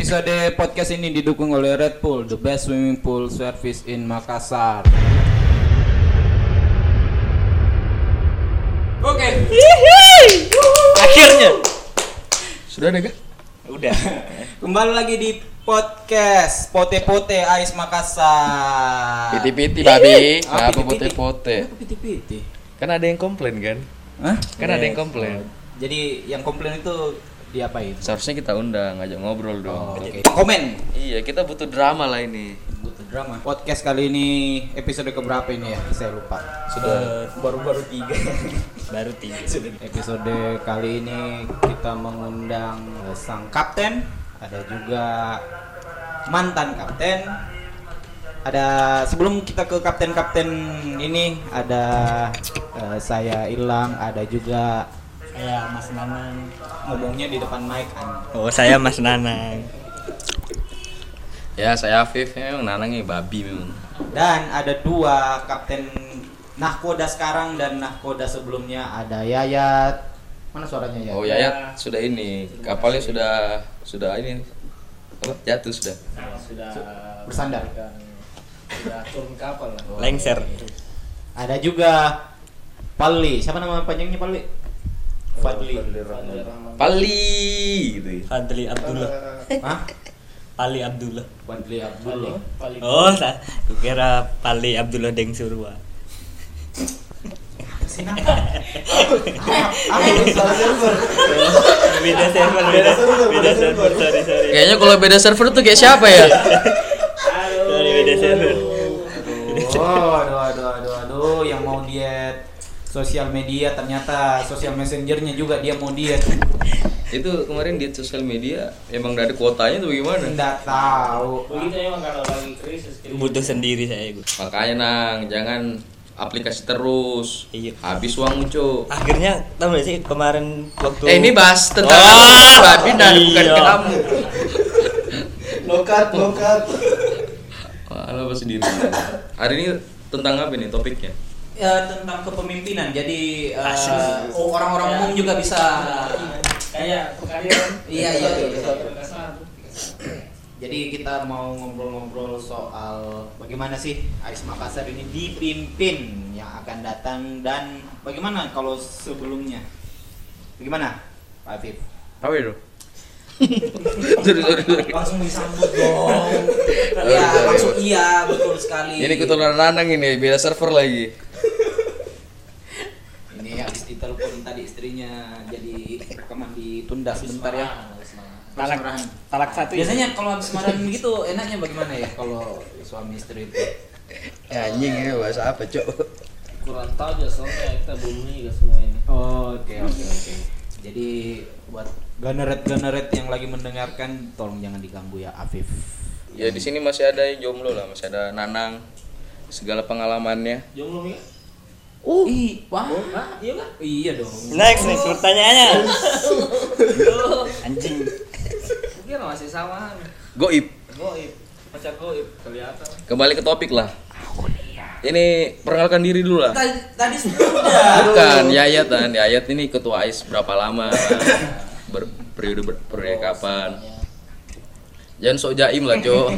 Episode podcast ini didukung oleh Red Pool, the best swimming pool service in Makassar. Oke, Akhirnya. Sudah deh, Kak. udah. Kembali lagi di podcast Pote Pote Ais Ah. Makassar. Piti-piti, babi. Ah, Apa piti-piti. pote-pote? Kenapa piti-piti? Kan ada yang komplain kan? Hah? Kan ada Iya. yang komplain. Jadi yang komplain itu diapain? Oh, Seharusnya kita undang, ngajak ngobrol dong. Oke. Komen. Iya, kita butuh drama lah ini. Butuh drama. Podcast kali ini episode keberapa ini ya? Saya lupa. Sudah baru-baru tiga. Baru tiga. Episode kali ini kita mengundang eh, sang kapten, ada juga mantan kapten. Ada sebelum kita ke kapten-kapten ini ada eh, saya Ilham, ada juga Saya Mas Nanang. ngomongnya di depan mic an. Oh, saya Mas Nanang. Ya, saya Afif memang nanangnya babi memang. Dan ada dua kapten nahkoda sekarang dan nahkoda sebelumnya ada Yayat. Mana suaranya Yayat? Oh, Yayat sudah ini. Kapalnya sudah sudah ini. Apa? Jatuh sudah. Sudah Bersandar. Sudah turun kapal. Lengser. Ada juga Pali. Siapa nama panjangnya Pali? Fadli. Pali gitu. ya. Fadli Abdullah. Hah? Pali Abdullah. Eh, Fadli Abdullah. Oh, saya kira Pali Abdullah Deng Surwa. Apa itu salah server? Beda server, beda server, beda server. Sorry, sorry. Kayaknya kalau beda server tuh kayak siapa ya? Sorry, beda server. Oh, aduh, aduh, aduh, aduh, yang mau diet sosial media ternyata sosial messengernya juga dia mau diet Itu kemarin di sosial media emang udah ada kuotanya tuh gimana? nggak tahu Butuh sendiri saya, Bu. Makanya nang, jangan aplikasi terus. Iya. Habis uang muncul. Akhirnya tahu gak sih kemarin waktu Eh ini bahas tentang Wah, babi dan bukan iya. kamu. lokat lokat Malah apa sendiri. Hari ini tentang apa nih topiknya? Ya, tentang kepemimpinan jadi eh, Asik. oh, orang-orang umum juga bisa kayak pekaryan iya iya iya. jadi kita mau ngobrol-ngobrol soal bagaimana sih Ais Makassar ini dipimpin yang akan datang dan bagaimana kalau sebelumnya bagaimana Pak Afif Apa itu? sorry, sorry, sorry. langsung disambut dong Sorry, ya sorry. langsung iya betul sekali Ini ketularan Nanang ini, beda server lagi. ini habis ditelepon tadi istrinya jadi rekaman ditunda sebentar ya Talak- Marahan. talak satu ya? biasanya kalau habis marahan gitu enaknya bagaimana ya kalau suami istri itu Ya anjing ini bahasa apa, Cok? kurang tahu aja soalnya kita belum nikah semua ini Oh, Hmm. oke oke oke jadi buat ganaret ganaret yang lagi mendengarkan tolong jangan diganggu ya Afif Ya di sini masih ada yang jomblo lah, masih ada Nanang segala pengalamannya. jomblo nikah oh Ih, wah Hah? iya kan iya dong Next, next pertanyaannya. Anjing. mungkin masih sama Goib. goib pacar goib kelihatan Kembali ke topik lah. Ini perkenalkan diri dulu lah. tadi tadi sudah Bukan, Yayat kan. Yayat ini ketua AIS berapa lama? Ber, periode ber, periode kapan? Jangan sok jaim lah, Jo.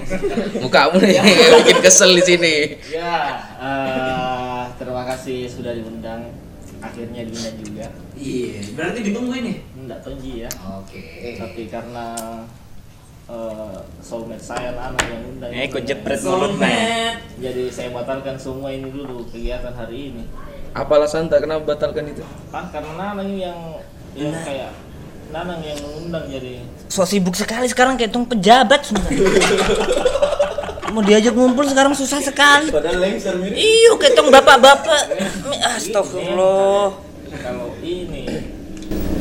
Mukamu nih yang bikin kesel di sini. Ya, eh, terima kasih sudah diundang. Akhirnya diundang juga. iya berarti ditunggu ini Enggak tonji ya, oke tapi karena eh soulmate saya Nana yang undang. Eh, kok jepret Soulmate. mulutnya. Jadi saya batalkan semua ini dulu kegiatan hari ini. Apa alasan tak kenapa batalkan itu? Kan karena Nana ini yang yang kayak Nanang yang mengundang jadi so sibuk sekali sekarang kayak tung pejabat sebenarnya. Mau diajak ngumpul sekarang susah sekali. padahal lengser mirip. Iyo kayak tung bapak-bapak. Mi- Astagfirullah. Kalau ini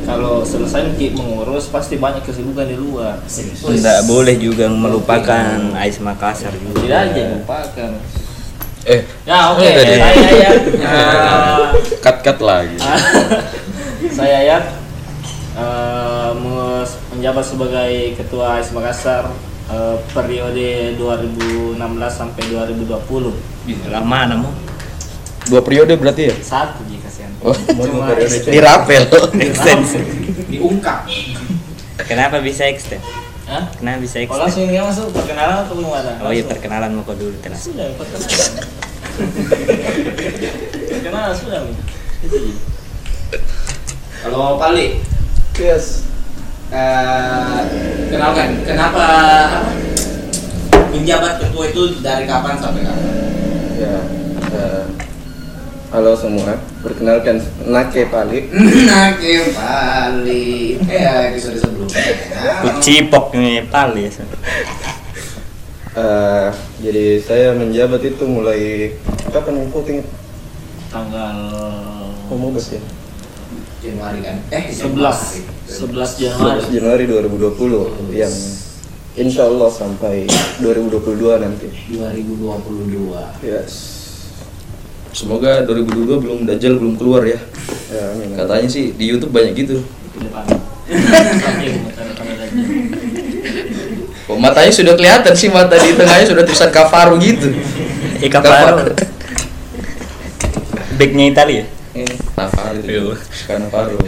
kalau selesai Ki mengurus pasti banyak kesibukan di luar. Tidak boleh juga melupakan Ais Makassar juga. Tidak aja lupakan. Eh, Iya. Ya oke, Eh, tadi. saya ya. cut-cut lagi. saya Yat eh, mengus- menjabat sebagai ketua AIS Makassar eh, periode 2016 sampai 2020 Lama namu. Dua periode berarti ya? satu jika kasihan Oh, Cuma dirapel. Extend. diungkap Kenapa bisa extend? Eh, Hah? Kenapa bisa Kalau eksis? langsung dia masuk perkenalan atau gimana? Oh iya Langsung. perkenalan mau kau dulu tenang. Sudah, perkenalan. perkenalan sudah nih. Itu Ji. Kalau Pali, Yes. eh, kenalkan, kenapa apa, menjabat ketua itu dari kapan sampai kapan? Ya, eh, halo semua. Perkenalkan Nake Pali. Nah, ke Pali, kayak eh, episode sebelumnya. Kucipok nih pal ya. Eh, jadi saya menjabat itu mulai kapan yang voting? Tanggal Kamu bos ya? Januari kan? Eh, 11 11 Januari. 11 Januari 2020 yang Iya. insya Allah sampai 2022 nanti. 2022. Yes. Iya. Semoga 2022 belum Dajjal belum keluar ya. Ya, amin. Katanya sih di YouTube banyak gitu. Di depan. Sampai tanda tanda tanda. Oh, matanya sudah kelihatan sih mata di tengahnya sudah tulisan kafaru gitu. Ika baru. Kafaru. Backnya ya? Italia. Eh, Kafaru. Karena faru.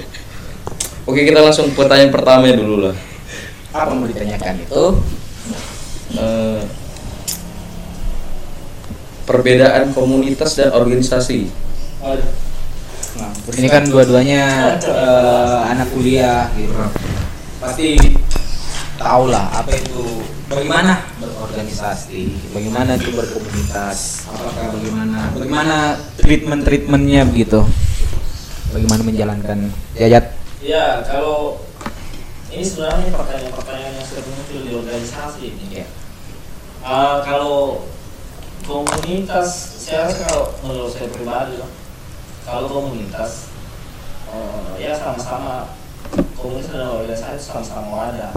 Oke, kita langsung ke pertanyaan pertama dulu lah. Apa mau ditanyakan itu? Eh, perbedaan komunitas dan organisasi. Ini kan dua-duanya eh, anak kuliah gitu. Pasti tahu lah apa itu bagaimana berorganisasi, bagaimana itu berkomunitas, apakah bagaimana bagaimana treatment-treatmentnya begitu. Bagaimana menjalankan jajat Ya, kalau ini sebenarnya pertanyaan-pertanyaan yang sering muncul di organisasi ini. Iya. Ah, kalau komunitas, saya rasa kalau menurut saya pribadi, loh, kalau komunitas, eh, ya sama-sama komunitas dan organisasi sama-sama ada,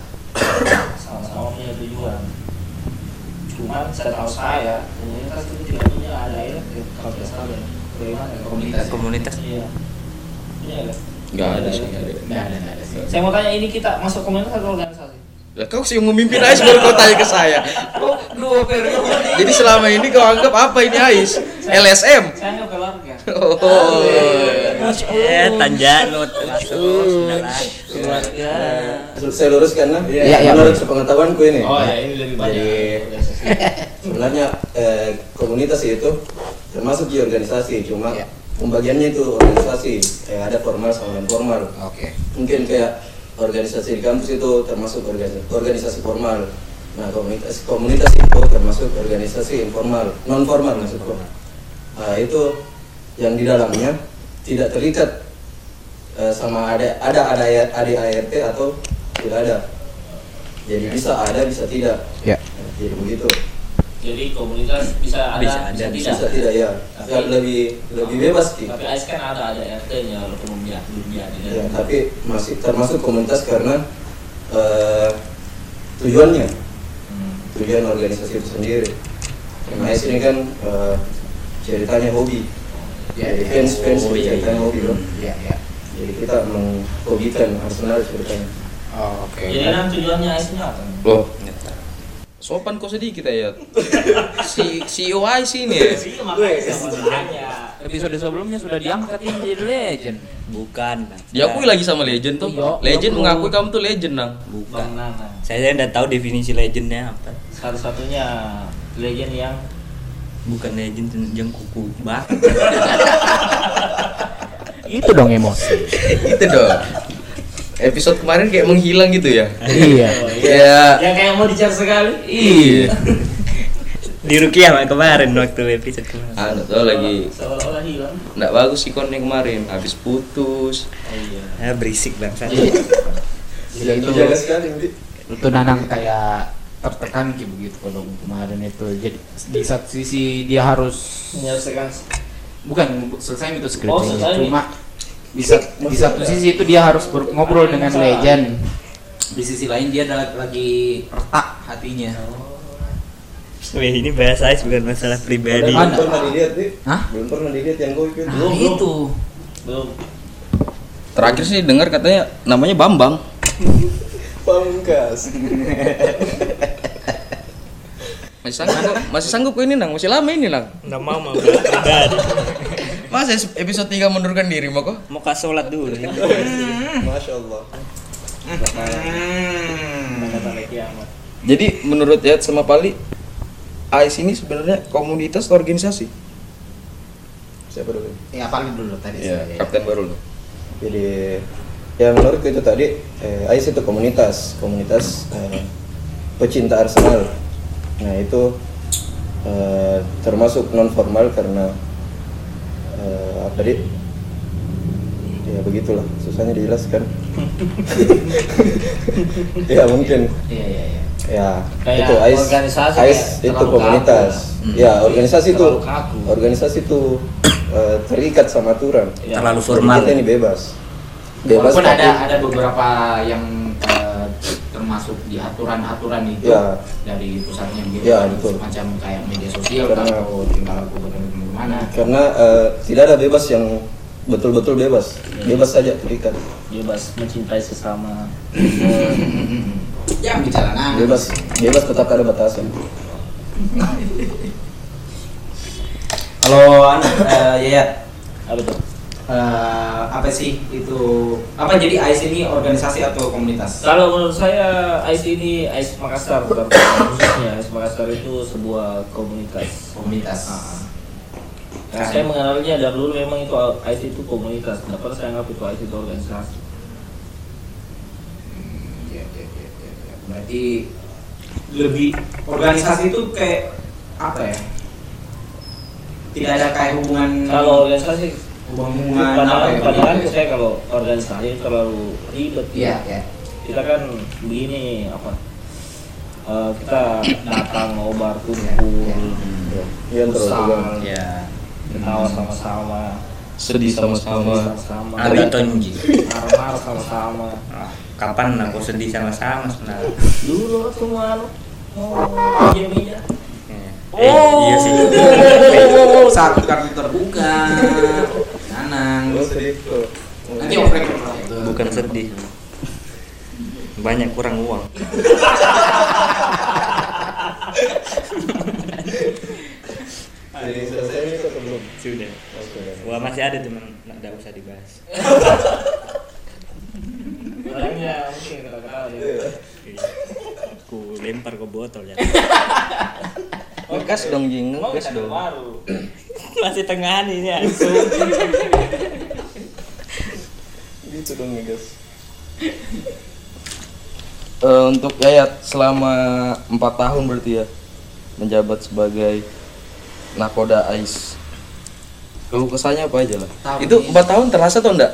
sama-sama punya tujuan. Cuman saya tahu saya komunitas itu tidak punya ada ya kalau tidak salah ya. Bagaimana ya, komunitas? Komunitas. Iya. Punya nggak? Nggak ada sih, nggak ada. Nggak ada, nggak ada sih. Saya mau tanya ini kita masuk komunitas atau organisasi? Lah kau sih memimpin Ais baru kau tanya ke saya. Kau- Jadi selama ini kau anggap apa ini Ais? LSM. Saya nggak keluarga. Oh. Eh tanjano. Sudahlah. Keluarga. Nah, Saya luruskan lah. Iya, iya. Menurut sepengetahuanku ini. Oh ya ini lebih banyak. sebenarnya eh, komunitas itu termasuk di organisasi cuma Iya. pembagiannya itu organisasi eh, ada formal sama non formal Oke. mungkin kayak organisasi di kampus itu termasuk organisasi, organisasi formal nah komunitas komunitas itu termasuk organisasi informal non formal maksudku nah, itu yang di dalamnya tidak terikat eh, sama ada ada ada ADART atau tidak ada jadi bisa ada bisa tidak Ya. Nah, jadi begitu Jadi komunitas bisa ada, bisa, Bisa ada, tidak. bisa tidak ya Ya, lebih lebih bebas sih Tapi AIS kan ada ada RT-nya walaupun belum dia belum dia ada. ya, tapi masih termasuk komunitas karena eh, tujuannya Hmm. tujuan organisasi itu sendiri MIS ini kan eh, ceritanya hobi Ya, jadi ya. fans fans Oh, iya, ceritanya iya. hobi loh Iya, iya. jadi kita menghobikan Arsenal ceritanya Oh, Oke. Jadi kan tujuannya AIS nya apa? Loh. Sopan kau sedikit ya. Si CEO Ais ini ya. Iya makanya saya mau tanya. Episode sebelumnya sudah diangkat ini jadi legend. Bukan. Diakui lagi sama legend tuh. Iya, Legend iya, bro. mengakui kamu tuh legend, Nang. Bang Bukan. Nana. Saya tidak tahu definisi legendnya apa. Satu-satunya legend yang Bukan legend yang kuku bah. Itu dong emosi. Itu dong. Episode kemarin kayak menghilang gitu ya. iya. Ya. yang kayak mau dicat sekali. Iya. Di Rukiah Pak, kemarin waktu episode kemarin. Anu tuh lagi Seolah-olah hilang. Oh, nggak bagus ikonnya kemarin habis putus iya. Ah, berisik bangsa. Iya, jadi itu jaga sekali nanti itu Nanang kayak tertekan kayak begitu kalau kemarin itu jadi di satu sisi dia harus Menyelesaikan bukan bu- selesai itu Oh, skripsinya selesai. cuma di, sat- di satu sisi itu dia harus ber- ngobrol dengan legend di sisi lain dia ada lagi retak hatinya Weh, ini bahasa Ais bukan masalah pribadi. belum Mana? pernah dilihat nih Hah? belum pernah dilihat yang gue ikut nah, belum belum. itu belum. terakhir sih dengar katanya namanya Bambang pamungkas masih sanggup masih sanggup kok ini nang masih lama ini nang Nggak mau mau pribadi. masa es- episode 3 mundurkan diri mau kok Mau Ya. kasih sholat dulu. masya Allah Hmm. sampai kiamat. Jadi menurut Yayat sama Pali, AIS ini sebenarnya komunitas atau organisasi. Siapa dulu? Ya paling dulu tadi Iya, saya. Kapten Barul. Jadi ya menurutku itu tadi eh, AIS itu komunitas, komunitas eh, pecinta Arsenal. Nah itu eh, termasuk non formal karena eh, apa di? Ya begitulah, susahnya dijelaskan. ya mungkin Iya iya iya. ya Kayak itu AIS, organisasi AIS kayak itu terlalu komunitas. kaku Hmm. lah. Ya organisasi itu Terlalu kaku. organisasi itu eh, terikat sama aturan. Ya. Jadi Kita ini bebas. Bebas Walaupun tapi- ada ada beberapa yang eh, termasuk di aturan-aturan itu Ya. dari pusatnya gitu Ya, kan, betul. semacam kayak media sosial kan, Karena- oh, atau tinggal gubernur gimana karena eh, tidak ada bebas yang betul-betul bebas. Bebas saja terikat. Bebas mencintai sesama. Ya, yang di jalanan Bebas bebas tetap ada batasan. Kalau anu, eh, Yayat, Apa tuh? eh, apa sih itu apa jadi AIS ini organisasi atau komunitas? Kalau menurut saya AIS ini AIS Makassar bukan khususnya AIS Makassar itu sebuah komunitas. Komunitas. Nah, saya mengenalnya dari dulu memang itu AIS itu komunitas. Tidak pernah saya anggap itu AIS itu organisasi. Iya, iya, iya, iya, iya. Berarti lebih organisasi itu kayak apa ya? Tidak ada kayak hubungan Kalau organisasi hubungan apa pandangan Hmm. ya? pandangan saya kalau organisasi itu terlalu ribet. iya iya Kita kan begini apa? eh, kita datang ngobar kumpul, Iya, terus besar, Ya. ketawa sama-sama, Sedih sedih sama-sama. sama-sama, Ada- Tonji. marah-marah sama-sama. Ah, Kapan aku sedih sama-sama sebenarnya? dulu waktu malu oh meja Eh, iya sih. Oh, satu kartu terbuka. Nanang. Terus itu. nanti oprek oprek itu Bukan sedih. Banyak kurang uang. Jadi selesai ini atau belum? Sudah. Oke. Wah masih ada teman, nggak usah dibahas. orangnya Iya, mungkin kata-kata ya Ku lempar ke botol ya. Ngegas dong, Jing. emang Ngegas kita dong. baru masih tengahan ini ya. Gitu dong ya guys. Eh, untuk Yayat selama empat tahun berarti ya menjabat sebagai nakoda AIS. Kalau kesannya apa aja lah? Tahun Itu ini. empat tahun terasa atau enggak?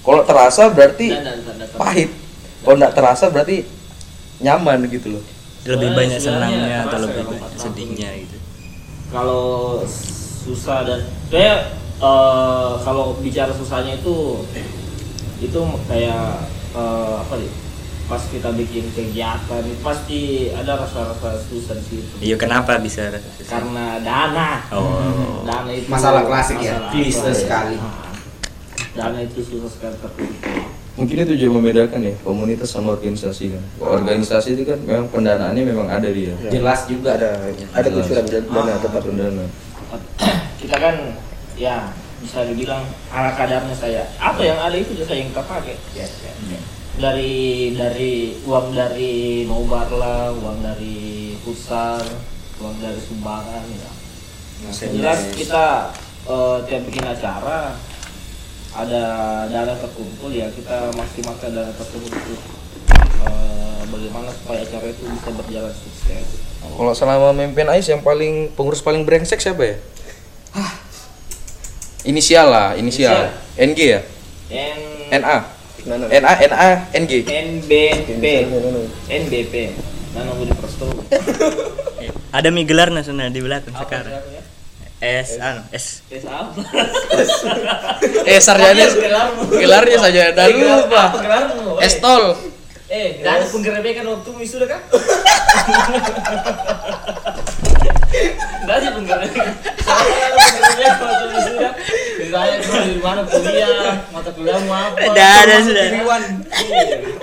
Kalau terasa berarti pahit. Kalau enggak terasa berarti nyaman gitu loh. Lebih Soalnya banyak sebenarnya senangnya atau terasa lebih kalau banyak empat sedihnya gitu. kalau susah dan kayak eh, kalau bicara susahnya itu itu kayak eh, apa nih pas kita bikin kegiatan pasti ada rasa-rasa susah di situ Iya kenapa bisa? karena dana Oh. dana itu Masalah klasik ya, klise klasik. sekali. dana itu susah sekali terkumpul Mungkin itu juga membedakan ya komunitas sama organisasi kan. Organisasi itu kan memang pendanaannya memang ada dia. Jelas juga Ada ada kucuran Ah. dan dana tempat dana. kita kan ya bisa dibilang ala kadarnya saya apa yang ada itu saya yang kita pakai dari dari uang dari nobar lah uang dari futsal uang dari sumbangan ya Yang jelas kita eh, tiap bikin acara ada dana terkumpul ya kita maksimalkan dana tersebut untuk eh, bagaimana supaya acara itu bisa berjalan sukses Kalau selama memimpin AIS yang paling pengurus paling brengsek siapa ya? Inisial lah, inisial. NG ya? NA. and Nah, nah. NA NA NG. NBP Nah, nah. NBP Nana Budi Presto Ada mie gelar nasional di belakang sekarang. ya? S, anu, S. Tes apa? Eh sarjana gelarnya saja Iya, dah lupa. Kelarmu Estol. Eh, nggak ada penggerebekan waktu wisuda kan? Nggak ada penggerebekan Soalnya nggak ada penggerebekan waktu wisuda Ditanya dulu di mana kuliah, mata kuliah mau apa Iya. Udah ada sudah.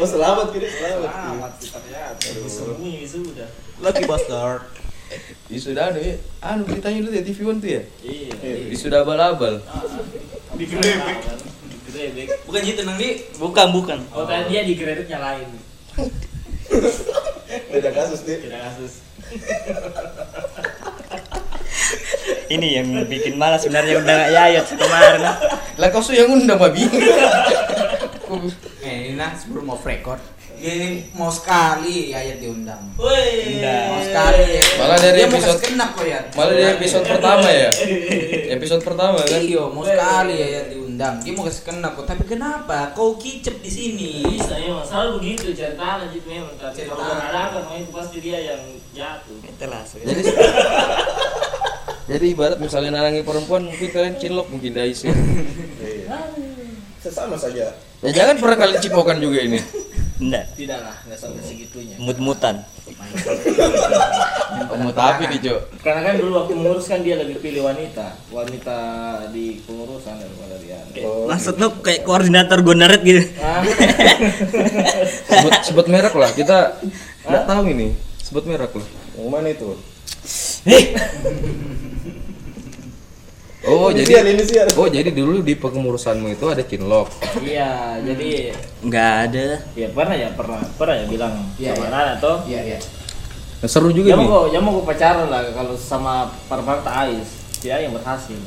Oh selamat kiri selamat. Amat kita ya, sembunyi wisuda Lucky Buster. Di sudah anu ya. Anu beritanya dulu ya TV One tuh ya. Iya, Di sudah abal-abal. digerebek Digerebek Bukan gitu nang di. Bukan, bukan. Oh, tadi dia digerebek nyalain beda kasus nih Beda kasus. Ini yang bikin malas sebenarnya udah nggak yayot kemarin. Lah kau yang undang babi. Eh, ini nah sebelum off record. Ini mau sekali Yayat diundang. Woi. Mau sekali. Yayat. Malah dari Dia mau episode- kenap kok ya. Malah di episode pertama ya. Episode pertama kan. Iya, mau sekali Yayat diundang. Dia mau kenap kok. Tapi kenapa? Kau kicep di sini. bisa iya, ya selalu begitu cerita lanjut memang tapi Cerita. kalau berhadapan memang itu pasti dia yang jatuh Jadi Jadi ibarat misalnya narangi perempuan mungkin kalian cinlok mungkin dari sini. sesama saja Ya jangan pernah kalian cipokan juga ini. Enggak, Tidak lah, nggak sampai segitunya. mut-mutan. Kamu tapi nih, Jo. karena kan dulu waktu mengurus kan dia lebih Pilih wanita, wanita di pengurusan daripada dia. oh, Maksud lu kayak koordinator gonaret gitu. Sebut, sebut merek lah. Kita nggak tahu ini. Sebut merek lah. yang mana itu Oh, Inisial, jadi inisial. Oh, jadi dulu di pengurusanmu itu ada cinlok. Hmm. Iya, jadi Enggak ada. ya pernah ya pernah pernah ya bilang Iya, sama iya. Nana toh. Ya, iya iya Nah, seru juga Jamu nih. kok jamu kok pacaran lah kalau sama perempuan tak ais. Dia yang berhasil.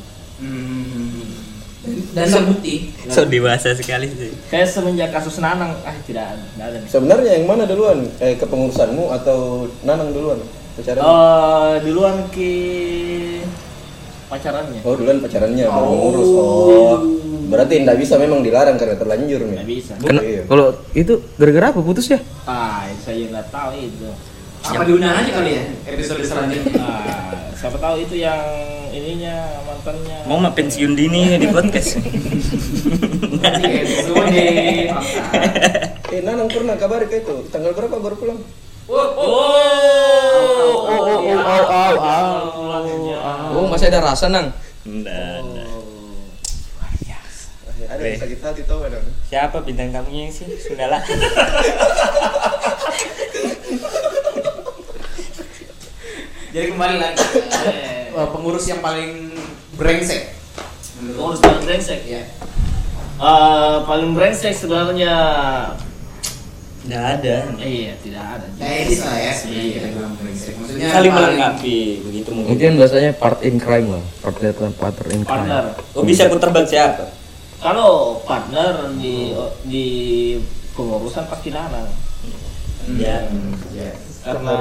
Dan terbukti. So dewasa sekali sih. Kayak semenjak kasus Nanang, ah tidak ada, tidak ada Eh, nih. sebenarnya yang mana duluan eh kepengurusanmu atau nanang duluan Oh, pacaran Eh, duluan ke pacarannya. oh duluan pacarannya baru ngurus oh berarti tidak bisa memang dilarang karena terlanjur nih Nggak bisa. Kena- Iya. kalau itu gara-gara apa putus ya? Ah, saya nggak tahu itu. Apa diundang aja kali ya episode selanjutnya? Ah, siapa tahu itu yang ininya mantannya. Mau mah pensiun dini di podcast. Episode. eh nanang pernah kabar kayak itu tanggal berapa baru pulang Oh, masih ada rasa, Nang. Enggak. enggak. ada yang sakit hati tau kan Siapa bintang tamunya sih? Sudahlah. Jadi kembali lagi eh, pengurus yang paling brengsek. Pengurus paling brengsek ya Eh, paling brengsek sebenarnya Enggak ada. iya tidak ada Iya. Teknis lah ya sebenarnya kita bilang brengsek. Maksudnya Saling paling- melengkapi begitu mungkin. Mungkin bahasanya part in crime lah. Partner partner in crime. partner Oh bisa aku terbang siapa? kalau partner di di pengurusan pasti nanang Ya. karena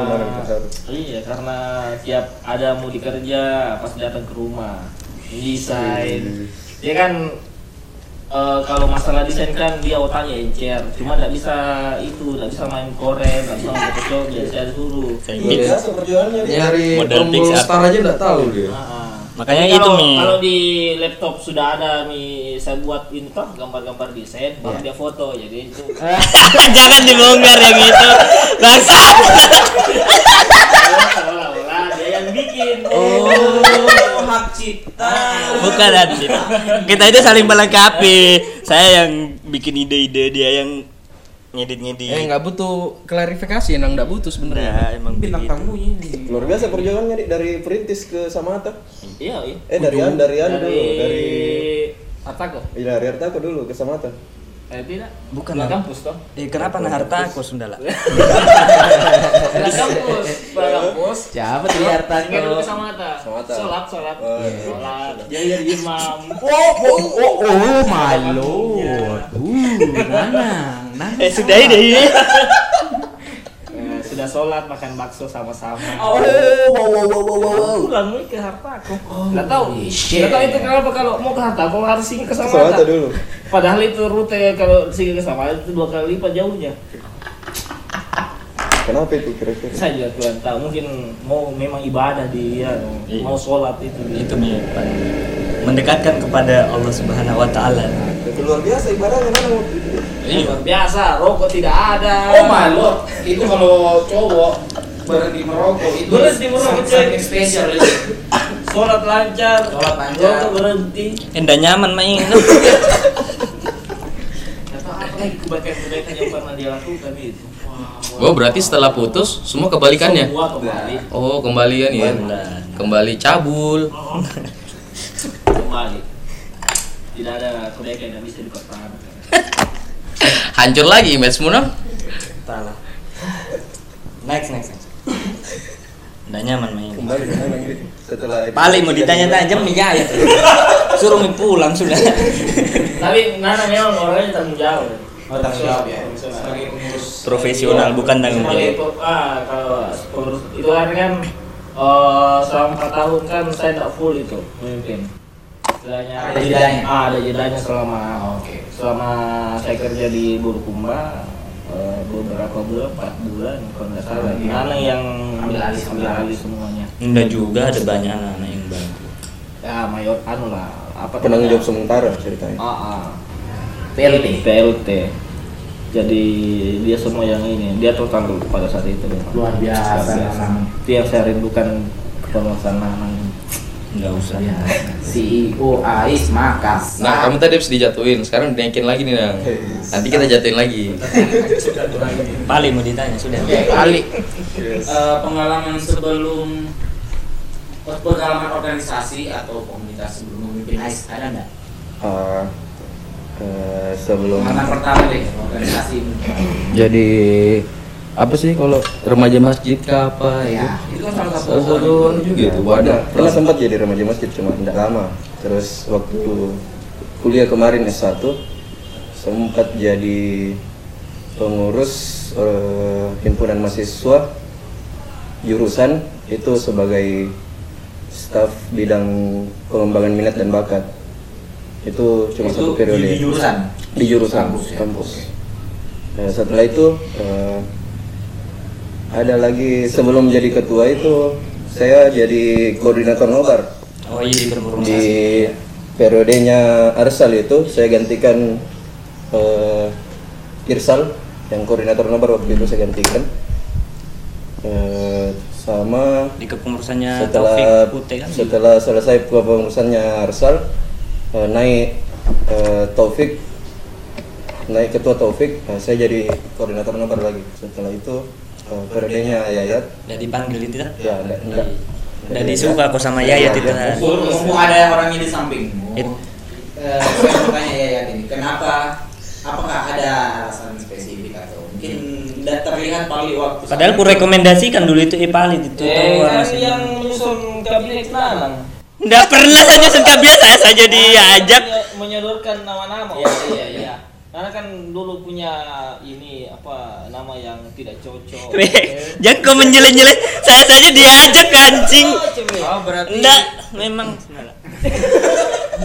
iya karena tiap ada mau dikerja pasti datang ke rumah desain dia kan eh, kalau masalah desain kan dia otaknya encer cuma nggak bisa itu nggak bisa main koren nggak bisa main joget saya suruh luar biasa perjuangannya dia Nyari Model tombol fix up. star aja nggak tahu dia. Ah. Makanya itu, Jadi kalau- Mi. Kalau di laptop sudah ada Mi saya buat ini toh gambar-gambar desain baru dia foto jadi itu. Jangan dibongkar yang itu. Bangsat. Seolah-olah dia yang bikin. Oh, hak cipta. Bukan Adit. Kita itu saling melengkapi. Saya yang bikin ide-ide, dia yang ngedit-ngedit. Eh nggak butuh klarifikasi, Nang nggak butuh sebenarnya. Nah, emang Bintang begitu. tamunya nih. luar biasa perjuangannya Dik. dari perintis ke Samata Iya, iya. eh dari An dari An dulu dari Dari Atako. Iya, dari Artako dulu ke Samata Eh, tidak. Bukan Pulang lah. kampus toh. Eh kenapa nah harta aku sundala? Pulang Iya. kampus, pulang kampus. Siapa tuh lihat Ingat dulu tadi? ke Samata. Samata. Sholat, sholat, Oh, iya. sholat. Jadi jadi imam. Oh, oh, oh, oh, my lord. Uh, nanang, nanang. Eh sudah ini. Eh, Sudah sholat makan bakso sama-sama. Oh, wow, wow, wow, wow, wow. Oh, iya, Pulang Mi, ke harta aku. Nggak tahu. shit. Nggak tahu itu kenapa kalau mau ke harta aku harus singgah ke ke Samata. Samata dulu Padahal itu rute kalau singgah ke Samata itu dua kali lipat jauhnya. kenapa itu kira-kira Saya juga kurang tahu. Mungkin mau memang ibadah dia, Iya. mau sholat itu. Itu Mi, Pak. mendekatkan kepada Allah Subhanahu wa taala. itu luar biasa ibaratnya Nanang Iya. Biasa, rokok tidak ada. Oh my lord, itu kalau cowok berhenti merokok itu Berhenti merokok, coy. something spesial itu. Sholat lancar, Sholat lancar. rokok berhenti. Eh nggak nyaman main. Nggak tahu apa lagi kebaikan-kebaikan yang pernah dia lakukan itu. Oh berarti setelah putus semua kebalikannya? Semua kembali, Oh kembalian ya? Kembali cabul. kembali. Tidak ada kebaikan yang bisa dipertahankan. Hancur lagi image Nang. Next, next, next. Nggak nyaman main. Kembali ke mana ini? Setelah episode Paling mau tiga ditanya ini. tajam ya ya. Suruh mi pulang sudah. Tapi Nana memang orangnya tanggung jawab. Oh, tanggung jawab ya. Profesional. Sebagai pengurus Profesional bukan tanggung Sebagai jawab. pe- Ah, kalau pengurus itu kan kan eh, selama 4 tahun kan saya tidak full itu memimpin. Istilahnya Ada jedanya. Ah, ada jedanya selama selama saya kerja di Bulukumba eh, beberapa bulan, 4 bulan kalau nggak salah. Nana yang ambil alih, ambil alih semuanya. Enggak juga ada banyak anak-anak yang bantu. Ya, mayor anu lah. Apa Penanggung namanya? jawab sementara ceritanya. Ah, PLT. PLT. Jadi dia semua yang ini, dia total dulu pada saat itu. Luar biasa, Nanang. Itu yang saya rindukan kepengurusan Nanang. Enggak usah. CEO Ais Makas. Nah, kamu tadi habis dijatuhin, sekarang dinaikin lagi nih, Nang. Nanti kita jatuhin lagi. Paling mau ditanya sudah. Ali. Eh, pengalaman sebelum pengalaman organisasi atau komunitas sebelum memimpin Ais ada nggak? Ah, eh, sebelum Pengalaman pertama deh organisasi. jadi apa sih kalau Remaja masjid ke apa ya, itu kan salah satu. Salah satu anu juga itu, wadah. Ada, Iya. pernah sempat jadi remaja masjid cuma tidak lama. Terus waktu kuliah kemarin S1 sempat jadi pengurus eh, himpunan mahasiswa jurusan itu sebagai staf bidang pengembangan minat dan bakat. Itu cuma satu periode di jurusan. di jurusan Kampus ya? kampus. Nah, setelah itu eh, ada lagi sebelum jadi ketua itu saya jadi koordinator nobar Oh iya di permurumusasi. di ya. periodenya Arsal itu saya gantikan eh, Irsal yang koordinator nobar waktu itu saya gantikan Eh, sama Di kepengurusannya Taufik setelah Putih kan. setelah selesai kepengurusannya Arsal eh, naik eh, Taufik naik ketua Taufik eh, saya jadi koordinator nobar lagi setelah itu eh, periodenya Yayat Udah dipanggil itu. kan? ya enggak enggak Udah disuka aku sama Iya, Yayat itu. kan. Mumpung ada orangnya di sampingmu. Eh, saya mau tanya Yayan ini, kenapa? Apakah ada alasan spesifik atau mungkin tidak terlihat paling waktu? Padahal ku rekomendasikan dulu itu Ipalit itu. Eh, tahu kan masih- yang menyusun kabinet Nanang. Nggak pernah saja suka biasa saja diajak. Menyo- Menyodorkan nama-nama. Iya, iya, iya. Karena kan dulu punya ini apa nama yang tidak cocok. Eh. Weh, Jangan kau menjelek-jelek, saya saja diajak kancing. Oh, berarti Enggak, memang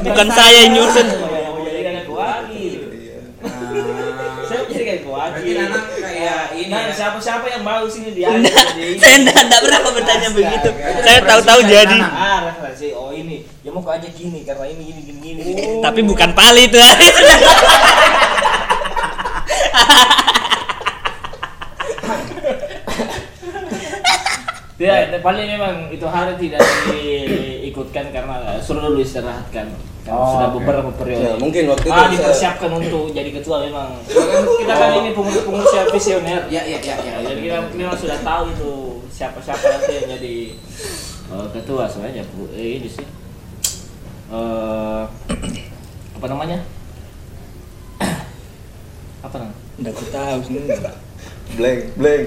bukan saya yang nyusun. Jadi kan aku wakil. Ah, Saya jadi kan Berarti aku wakil. Nanang kayak ini. Nah, ya. siapa-siapa yang bau sini dia. Nah, Enggak, saya enggak, enggak pernah kau bertanya begitu. Saya tahu-tahu jadi. Ah, referensi. Oh ini, ya mau kau ajak gini karena ini gini gini gini. Tapi bukan pali itu. Tidak, paling memang itu hari tidak diikutkan karena suruh dulu istirahatkan. Karena Oh, sudah oke. beberapa periode. Ya, mungkin waktu itu ah, saya- dipersiapkan untuk jadi ketua memang. Kita kan ini pengurus-pengurus yang visioner. Ya, ya, ya, ya. Ya, jadi kita memang sudah tahu itu siapa-siapa nanti yang jadi eh, ketua sebenarnya bu eh, ini sih Eh, apa namanya apa namanya Enggak aku tahu. blank blank